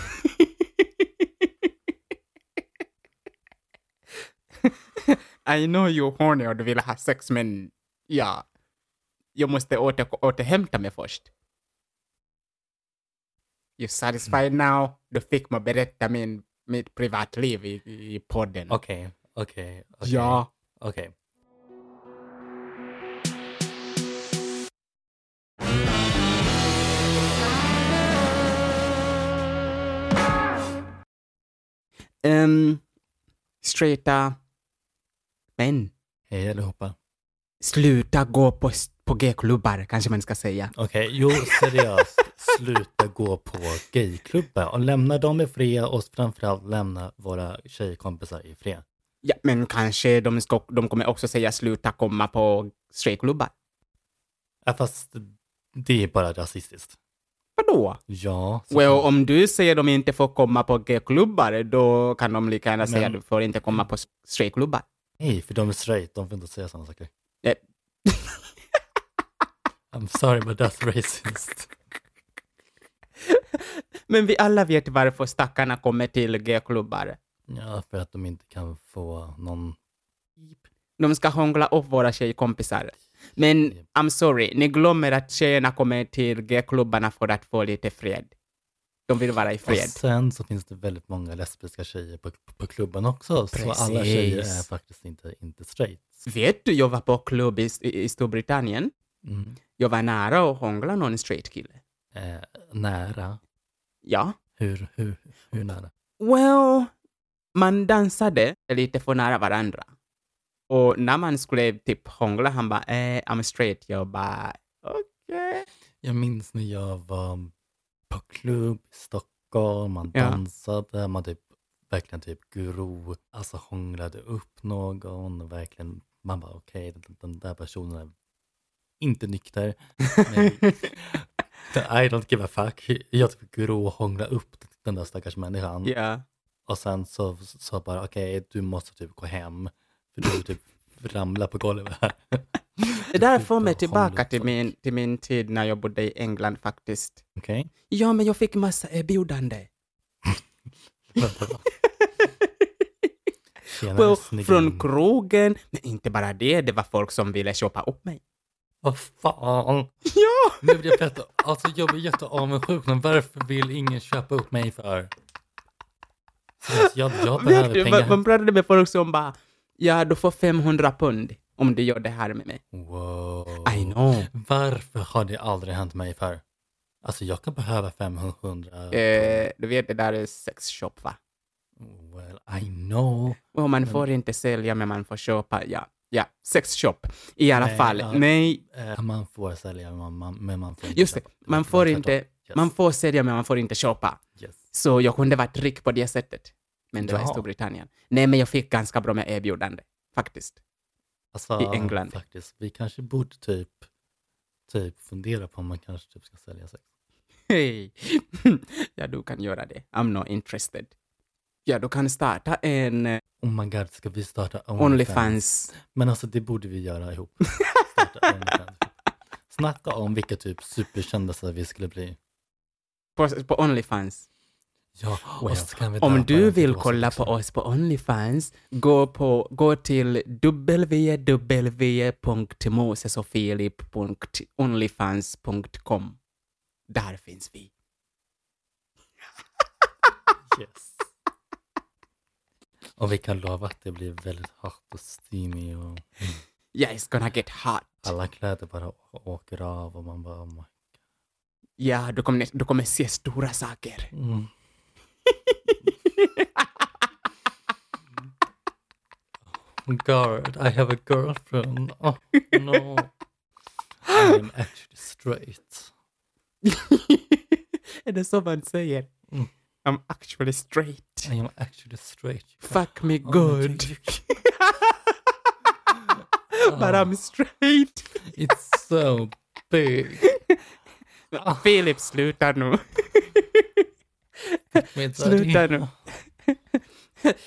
[LAUGHS] I know you horny och du vill ha sex, men ja. Jag måste åter, återhämta mig först. You satisfied
Mm.
now? Du fick mig berätta min, mitt privatliv i, i podden.
Okej, okej, okej.
Ja.
Okej.
um, straighta män.
Hej allihopa.
Sluta gå på, på gay-klubbar, kanske man ska säga.
Okej, jo seriöst. Sluta gå på gayklubbar och lämna dem i fred och framförallt lämna våra tjejkompisar i fred.
Ja, men kanske de, ska, de kommer också säga sluta komma på straight-klubbar.
Ja, fast det är bara rasistiskt.
Vadå?
Ja. så-
Well, om du säger de inte får komma på gay-klubbar, då kan de lika gärna säga
Men-
du får inte komma på straight-klubbar.
Nej, för de är straight. De får inte säga sådana saker.
Eh, [LAUGHS]
I'm sorry but that's racist.
Men vi alla vet varför stackarna kommer till gay-klubbar.
Ja, för att de inte kan få någon...
De ska hångla upp våra tjejkompisar. Men
Japp.
I'm sorry, ni glömmer att tjejerna kommer till gay-klubbarna för att få lite fred. De vill vara i fred.
Och sen så finns det väldigt många lesbiska tjejer på, på klubben också. Så alla tjejer är
Precis.
faktiskt inte, inte straight.
Vet du, jag var på klubb i, i i Storbritannien.
Mm.
Jag var nära att hångla någon straight kille.
Eh, nära.
Ja.
Hur, hur, hur nära?
Well, man dansade lite för nära varandra. Och när man skulle typ hångla, han bara eh, I'm straight. Jag bara
Mm.
okej.
Jag minns när jag var på klubb i Stockholm, man
Ja.
dansade, man typ verkligen typ gro, alltså hånglade upp någon och verkligen, man bara okej, den, den där personen är inte nykter. Men,
[LAUGHS]
I don't give a fuck. Jag typ gro och hångla upp den där stackars människan.
Ja.
Och sen så, så bara okej, du måste typ gå hem, för du typ ramlar på golvet.
Det där
typ
får mig
hångla
tillbaka
upp
till
folk.
min, till min tid när jag bodde i England faktiskt.
Okej?
Ja, men jag fick massa erbjudande.
Tjenare,
Well,
snygging.
från krogen, men inte bara det, det var folk som ville köpa upp mig. [LAUGHS]
Vad fan!
Ja!
Nu blir jag fett, alltså jag blir jätteavundsjuk men varför vill ingen köpa upp mig för? Seriöst, jag, jag
Vet
behöver
du, man,
pengar.
man pratade med folk som bara, ja, du får 500 pund om du gör det här med mig.
Wow.
I know.
Varför har det aldrig hänt mig för? Alltså jag kan behöva 500.
Eh, du vet, det där är sexshop, va?
Well, I know.
Och man får inte sälja, men man får köpa, ja. Ja, sexshop. I alla
Nej,
fall.
ja.
Nej,
Eh, man får sälja men man, men man får inte
just det.
köpa.
Man får
tvärtom.
inte,
Yes.
man får sälja, men man får inte köpa.
Yes.
Så jag kunde varit rik på det sättet. Men det var i
Jaha.
Storbritannien. Nej, men jag fick ganska bra med erbjudande, faktiskt.
Alltså,
i England.
Faktiskt, vi kanske borde typ, typ fundera på om man kanske typ ska sälja sex.
Hej! [LAUGHS] ja, du kan göra det. I'm not interested. Ja, du kan starta en eh,
Oh my god, ska vi starta
Onlyfans.
Men alltså det borde vi göra
[LAUGHS]
ihop. Starta OnlyFans. Snacka om vilka typ superkändisar vi skulle bli.
På, på Onlyfans.
Ja, och så kan vi
Om
döpa
du
den till
vill
Rosa
kolla på
Dixon.
oss på Onlyfans, gå, på, gå till www.mosesofilip.onlyfans.com. Där finns vi.
Yes. Och vi kan lova att det blir väldigt hot och steamy och
Yeah, it's gonna get hot.
alla kläder bara å- åker av och man bara oh my.
Ja, du kommer, du kommer se stora saker.
Mm. [LAUGHS] Oh God, I have a girlfriend. Oh, no. I'm actually straight.
Är det så man säger?
Mm.
I'm actually straight.
I am actually straight.
Fuck me
Oh,
good.
you-
[LAUGHS] But I'm straight.
It's so big.
Philip, sluta
[LAUGHS]
nu.
Med
Sluta
daddy.
nu. [LAUGHS]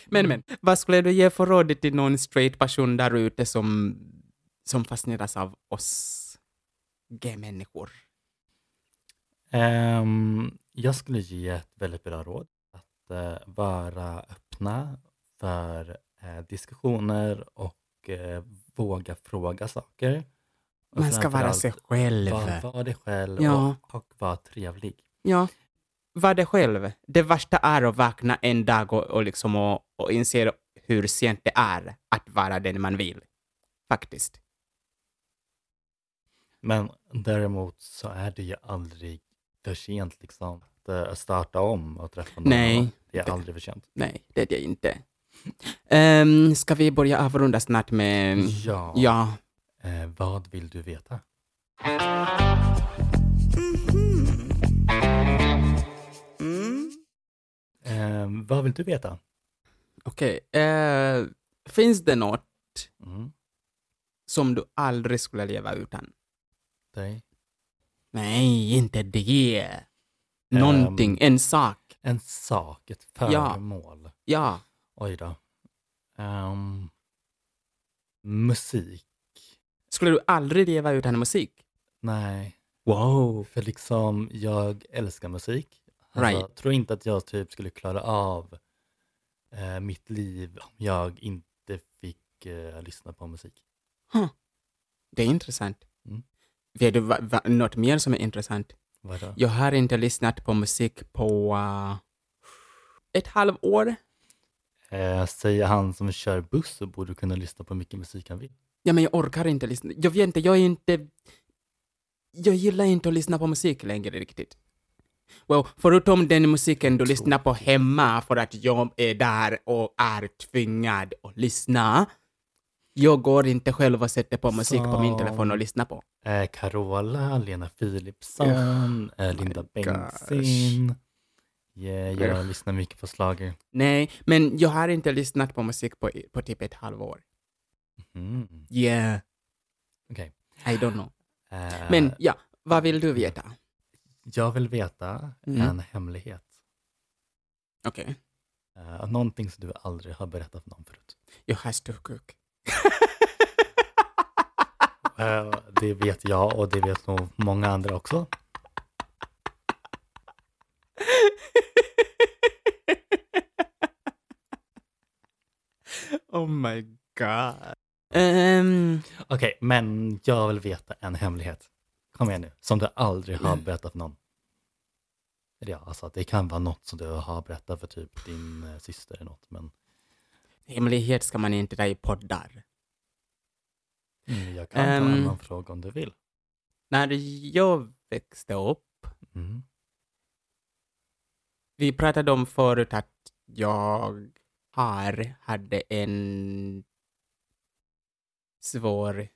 Men, men, vad skulle du ge för råd till någon straight person där ute som, som fascineras av oss gay-människor?
Ehm, jag skulle ge ett väldigt bra råd. Att eh, vara öppna för eh, diskussioner och eh, våga fråga saker. Och
Man ska vara
framförallt
sig själv.
Var, var dig själv
Ja.
och, och var trevlig.
Ja. Var det själv. Det värsta är att vakna en dag och, och, liksom och, och inse hur sent det är att vara den man vill. Faktiskt.
Men däremot så är det ju aldrig för sent liksom att eh, starta om och träffa någon.
Nej.
annan. Det är aldrig för sent.
Nej, det är det inte. Um, ska vi börja avrunda snart med...
Ja.
Mm. Ja.
Eh, vad vill du veta? Eh, vad vill du veta?
Okej. eh, finns det något
Mm.
som du aldrig skulle leva utan?
Dig?
Nej, inte det.
Ehm.
Någonting, en sak.
En sak, ett
Ja.
föremål.
Ja.
Oj då. Ehm, musik?
Skulle du aldrig leva utan musik?
Nej.
Wow.
För liksom, jag älskar musik. Alltså,
Right.
tror inte att jag typ skulle klara av eh, mitt liv om jag inte fick eh, lyssna på musik.
Det är intressant.
Mm.
Vet du va, va, något mer som är intressant?
Vadå?
Jag har inte lyssnat på musik på eh, ett halvår.
Eh, säger han som kör buss så borde kunna lyssna på hur mycket musik han vill.
Ja, men jag orkar inte lyssna. Jag vet inte, jag är inte... Jag gillar inte att lyssna på musik längre riktigt. Well, förutom den musiken du lyssnar på hemma för att jag är där och är tvingad att lyssna. Jag går inte själv och sätter på musik på min telefon och lyssnar på.
Eh, Carola, Lena Philipsson, eh, Linda
Oh my gosh.
Bengtzing. Yeah, jag lyssnar mycket på schlager.
Nej, men jag har inte lyssnat på musik på, på typ ett halvår.
Mm.
Yeah,
Okej.
I don't know.
Eh,
Men ja, vad vill du veta?
Jag vill veta
Mm.
en hemlighet.
Okej,
Eh, någonting som du aldrig har berättat för någon förut.
jag har storkuk.
Eh, det vet jag och det vet nog många andra också.
[LAUGHS] oh my god. Ehm,
Okej, men jag vill veta en hemlighet. Kom igen nu, som du aldrig har berättat för någon. Eller ja, alltså det kan vara något som du har berättat för typ din eh, syster eller något, men
hemlighet ska man inte ta i poddar.
mm, jag kan ta en
Ehm.
annan fråga om du vill.
När jag växte upp,
Mm.
vi pratade om förut att jag har, hade en svår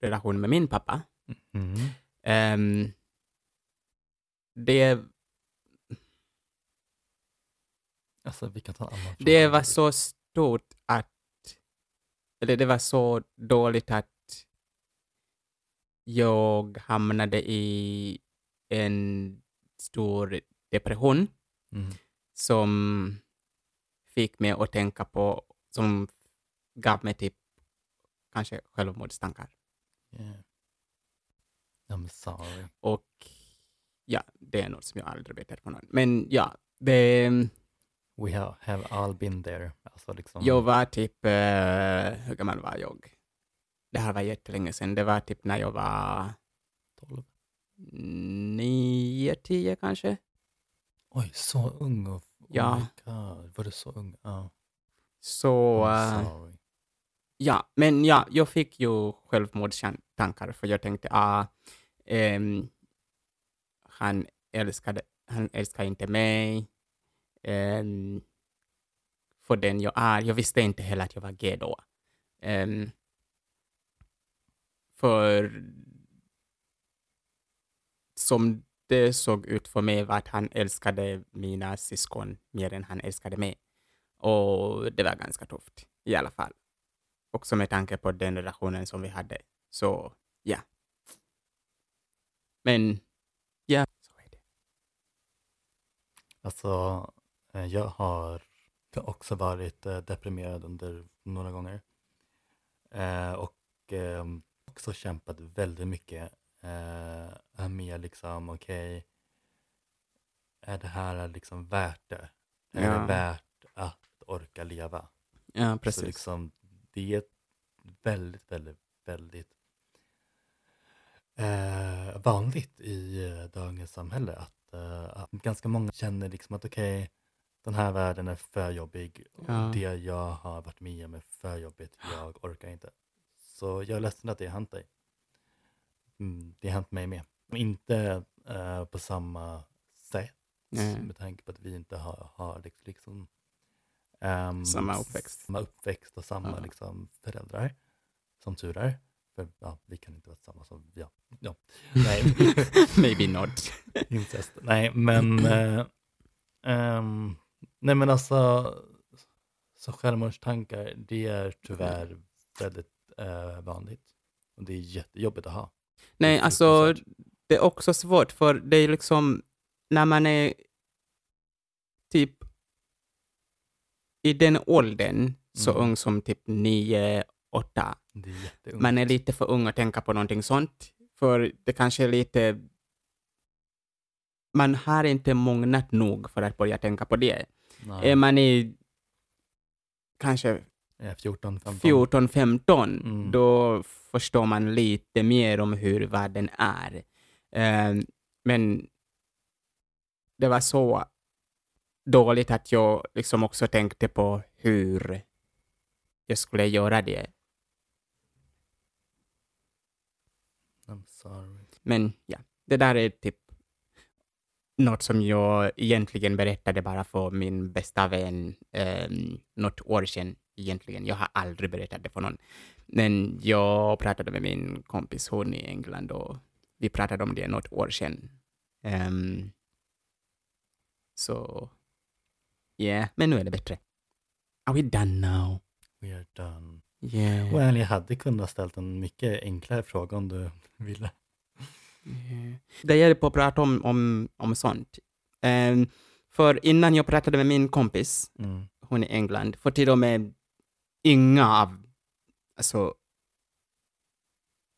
relation med min pappa.
Mm.
Ehm, det,
Alltså vi kan ta en annan fråga.
det
om
var
du vill.
så stort att, eller det var så dåligt att jag hamnade i en stor depression
Mm.
som fick mig att tänka på, som gav mig typ kanske självmordstankar.
Yeah. I'm sorry.
Och ja, det är något som jag aldrig berättat för någon. Men ja, det,
We have, have all been there. Alltså liksom,
jag var typ, eh, hur gammal var jag? Det här var jättelänge sedan. Det var typ när jag var
12.
nio, tio kanske.
Oj, så ung. Och, oh
Ja.
my god, var du så ung? Ja.
Så
I'm
eh,
sorry.
ja, men ja, jag fick ju självmordstankar för jag tänkte, ah, ehm, han, älskade, han älskar inte mig. ehm, för den jag är. Jag visste inte heller att jag var gay då. Ehm, för som det såg ut för mig var att han älskade mina syskon mer än han älskade mig. Och det var ganska tufft i alla fall. Också med tanke på den relationen som vi hade. Så ja. Men ja, så är det.
Alltså, eh, jag har också varit eh, deprimerad under några gånger. Eh, och eh, också kämpat väldigt mycket eh, med liksom, okej, är det här liksom värt det? Är
Ja.
det värt att orka leva?
Ja,
Så
precis.
liksom, det är ett väldigt, väldigt, väldigt eh, vanligt i eh, dagens samhälle att, eh, att ganska många känner liksom att okej, den här världen är för jobbig och
Ja.
det jag har varit med om är för jobbigt, jag orkar inte. Så jag är ledsen att det har hänt dig. Mm, det har hänt mig med. Men Inte eh, på samma sätt
Nej.
med tanke på att vi inte har, har liksom, liksom ehm,
Samma uppväxt.
samma uppväxt och samma
Ja.
liksom, föräldrar, som tur är. För ja, vi kan inte vara samma som, ja, ja. Nej, [LAUGHS]
[LAUGHS] Maybe not.
incest. Nej, men, eh, ehm, nej, men alltså, så självmordstankar, det är tyvärr väldigt eh, vanligt. Och det är jättejobbigt att ha.
Nej,
Det är
alltså
fruktansvärt.
det är också svårt för det är liksom när man är typ i den åldern, så
Mm.
ung som typ nio, åtta,
Det är jätteungt.
man är lite för ung att tänka på någonting sånt. För det kanske är lite... Man har inte mognat nog för att börja tänka på det.
Nej,
Är Eh, man i kanske
eh, 14, 15.
14, 15,
Mm.
då förstår man lite mer om hur världen är. Eh, men det var så dåligt att jag liksom också tänkte på hur jag skulle göra det.
I'm sorry.
Men ja, det där är typ något som jag egentligen berättade bara för min bästa vän um, något år sedan egentligen. Jag har aldrig berättat det för någon. Men jag pratade med min kompis, hon i England och vi pratade om det något år sedan. Ehm, så, yeah, men nu är det bättre. Are we done now?
We are done.
Yeah.
Well, jag hade kunnat ställt en mycket enklare fråga om du ville.
Yeah. Eh, Det gäller på att prata om, om, om sånt. Ehm, för innan jag pratade med min kompis,
Mm.
hon i England, för till och med inga av, alltså,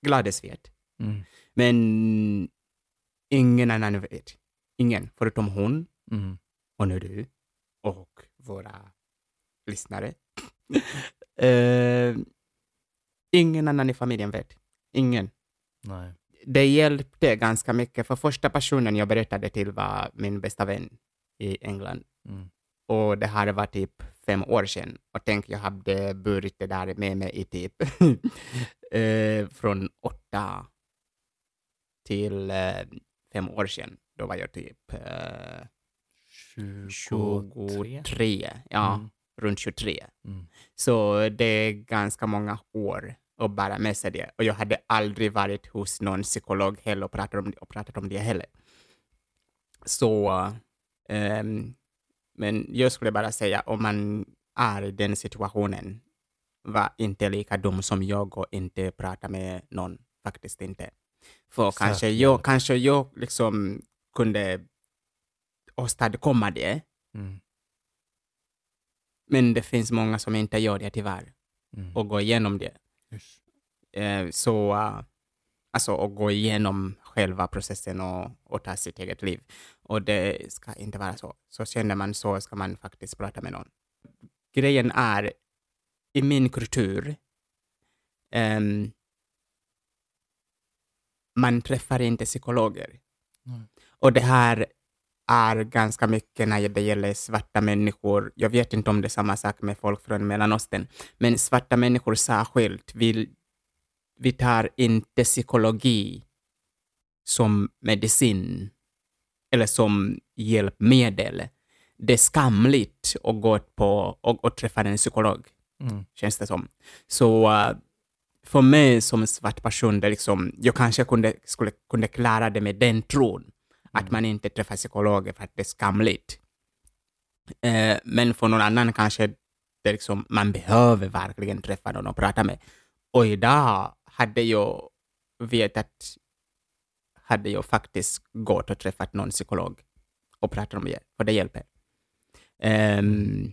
Gladys vet,
Mm.
men ingen annan vet. Ingen, förutom hon
Mm.
och nu du och våra lyssnare. [LAUGHS] Eh, ingen annan i familjen vet. Ingen
Nej.
det hjälpte ganska mycket, för första personen jag berättade till var min bästa vän i England.
Mm.
Och det här var typ fem år sedan. Och tänk, jag hade burit det där med mig i typ [LAUGHS] eh, från åtta till eh, fem år sedan. Då var jag typ eh,
23.
23, ja,
Mm.
runt 23.
Mm.
Så det är ganska många år och bara med sig det. Och jag hade aldrig varit hos någon psykolog heller och pratat om det, och pratat om det heller. Så, ehm, men jag skulle bara säga om man är i den situationen, var inte lika dum som jag och inte prata med någon, faktiskt inte. För
Särskilt.
kanske jag, kanske jag liksom kunde åstadkomma det,
Mm.
men det finns många som inte gör det tyvärr
Mm.
och gå igenom det.
Usch.
Eh, så, eh, alltså att gå igenom själva processen och, och ta sitt eget liv. Och det ska inte vara så. Så känner man så ska man faktiskt prata med någon. Grejen är, i min kultur, ehm, man träffar inte psykologer.
Nej.
Och det här är ganska mycket när det gäller svarta människor. Jag vet inte om det är samma sak med folk från Mellanöstern, men svarta människor särskilt, vi, vi tar inte psykologi som medicin eller som hjälpmedel. Det är skamligt att gå på och, och träffa en psykolog
Mm.
känns det som. Så eh, för mig som svart person, det liksom, jag kanske kunde, skulle, kunde klara det med den tron, att man inte träffar psykologer för att det är skamligt. Eh, men för någon annan kanske det liksom, man behöver verkligen träffa någon och prata med. Och idag hade jag vetat, hade jag faktiskt gått och träffat någon psykolog och pratat om det, för det hjälper. Ehm,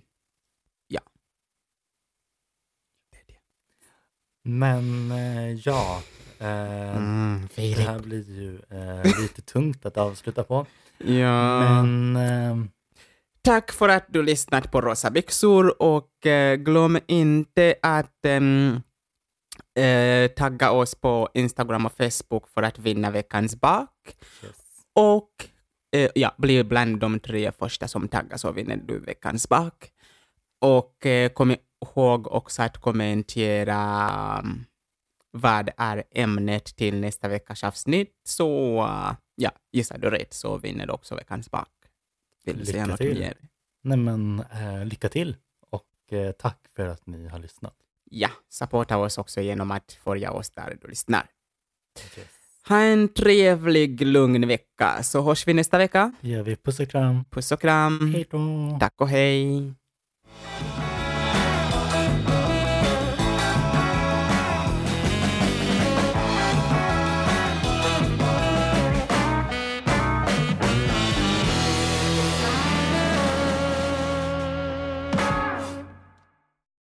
Men eh, ja, eh,
mm,
det här blir ju
[LAUGHS]
eh, lite tungt att avsluta på.
Ja.
Men eh,
Tack för att du lyssnat på Rosa byxor och eh, glöm inte att ehm, eh, tagga oss på Instagram och Facebook för att vinna veckans bak.
yes.
Och eh, ja, bli bland de tre första som taggar så vinner du veckans bak. Och eh, kom ihåg också att kommentera mm, vad är ämnet till nästa veckas avsnitt. Så eh, ja, gissar du rätt så vinner du också veckans bak. Vill du säga
Lycka
något
till.
mer?
Nej, men, eh, lycka till och eh, tack för att ni har lyssnat.
Ja, supporta oss också genom att följa oss där du lyssnar.
Yes.
Ha en trevlig, lugn vecka, så hörs vi nästa vecka.
Gör vi puss och kram.
Puss och kram.
Hej då.
Tack och hej.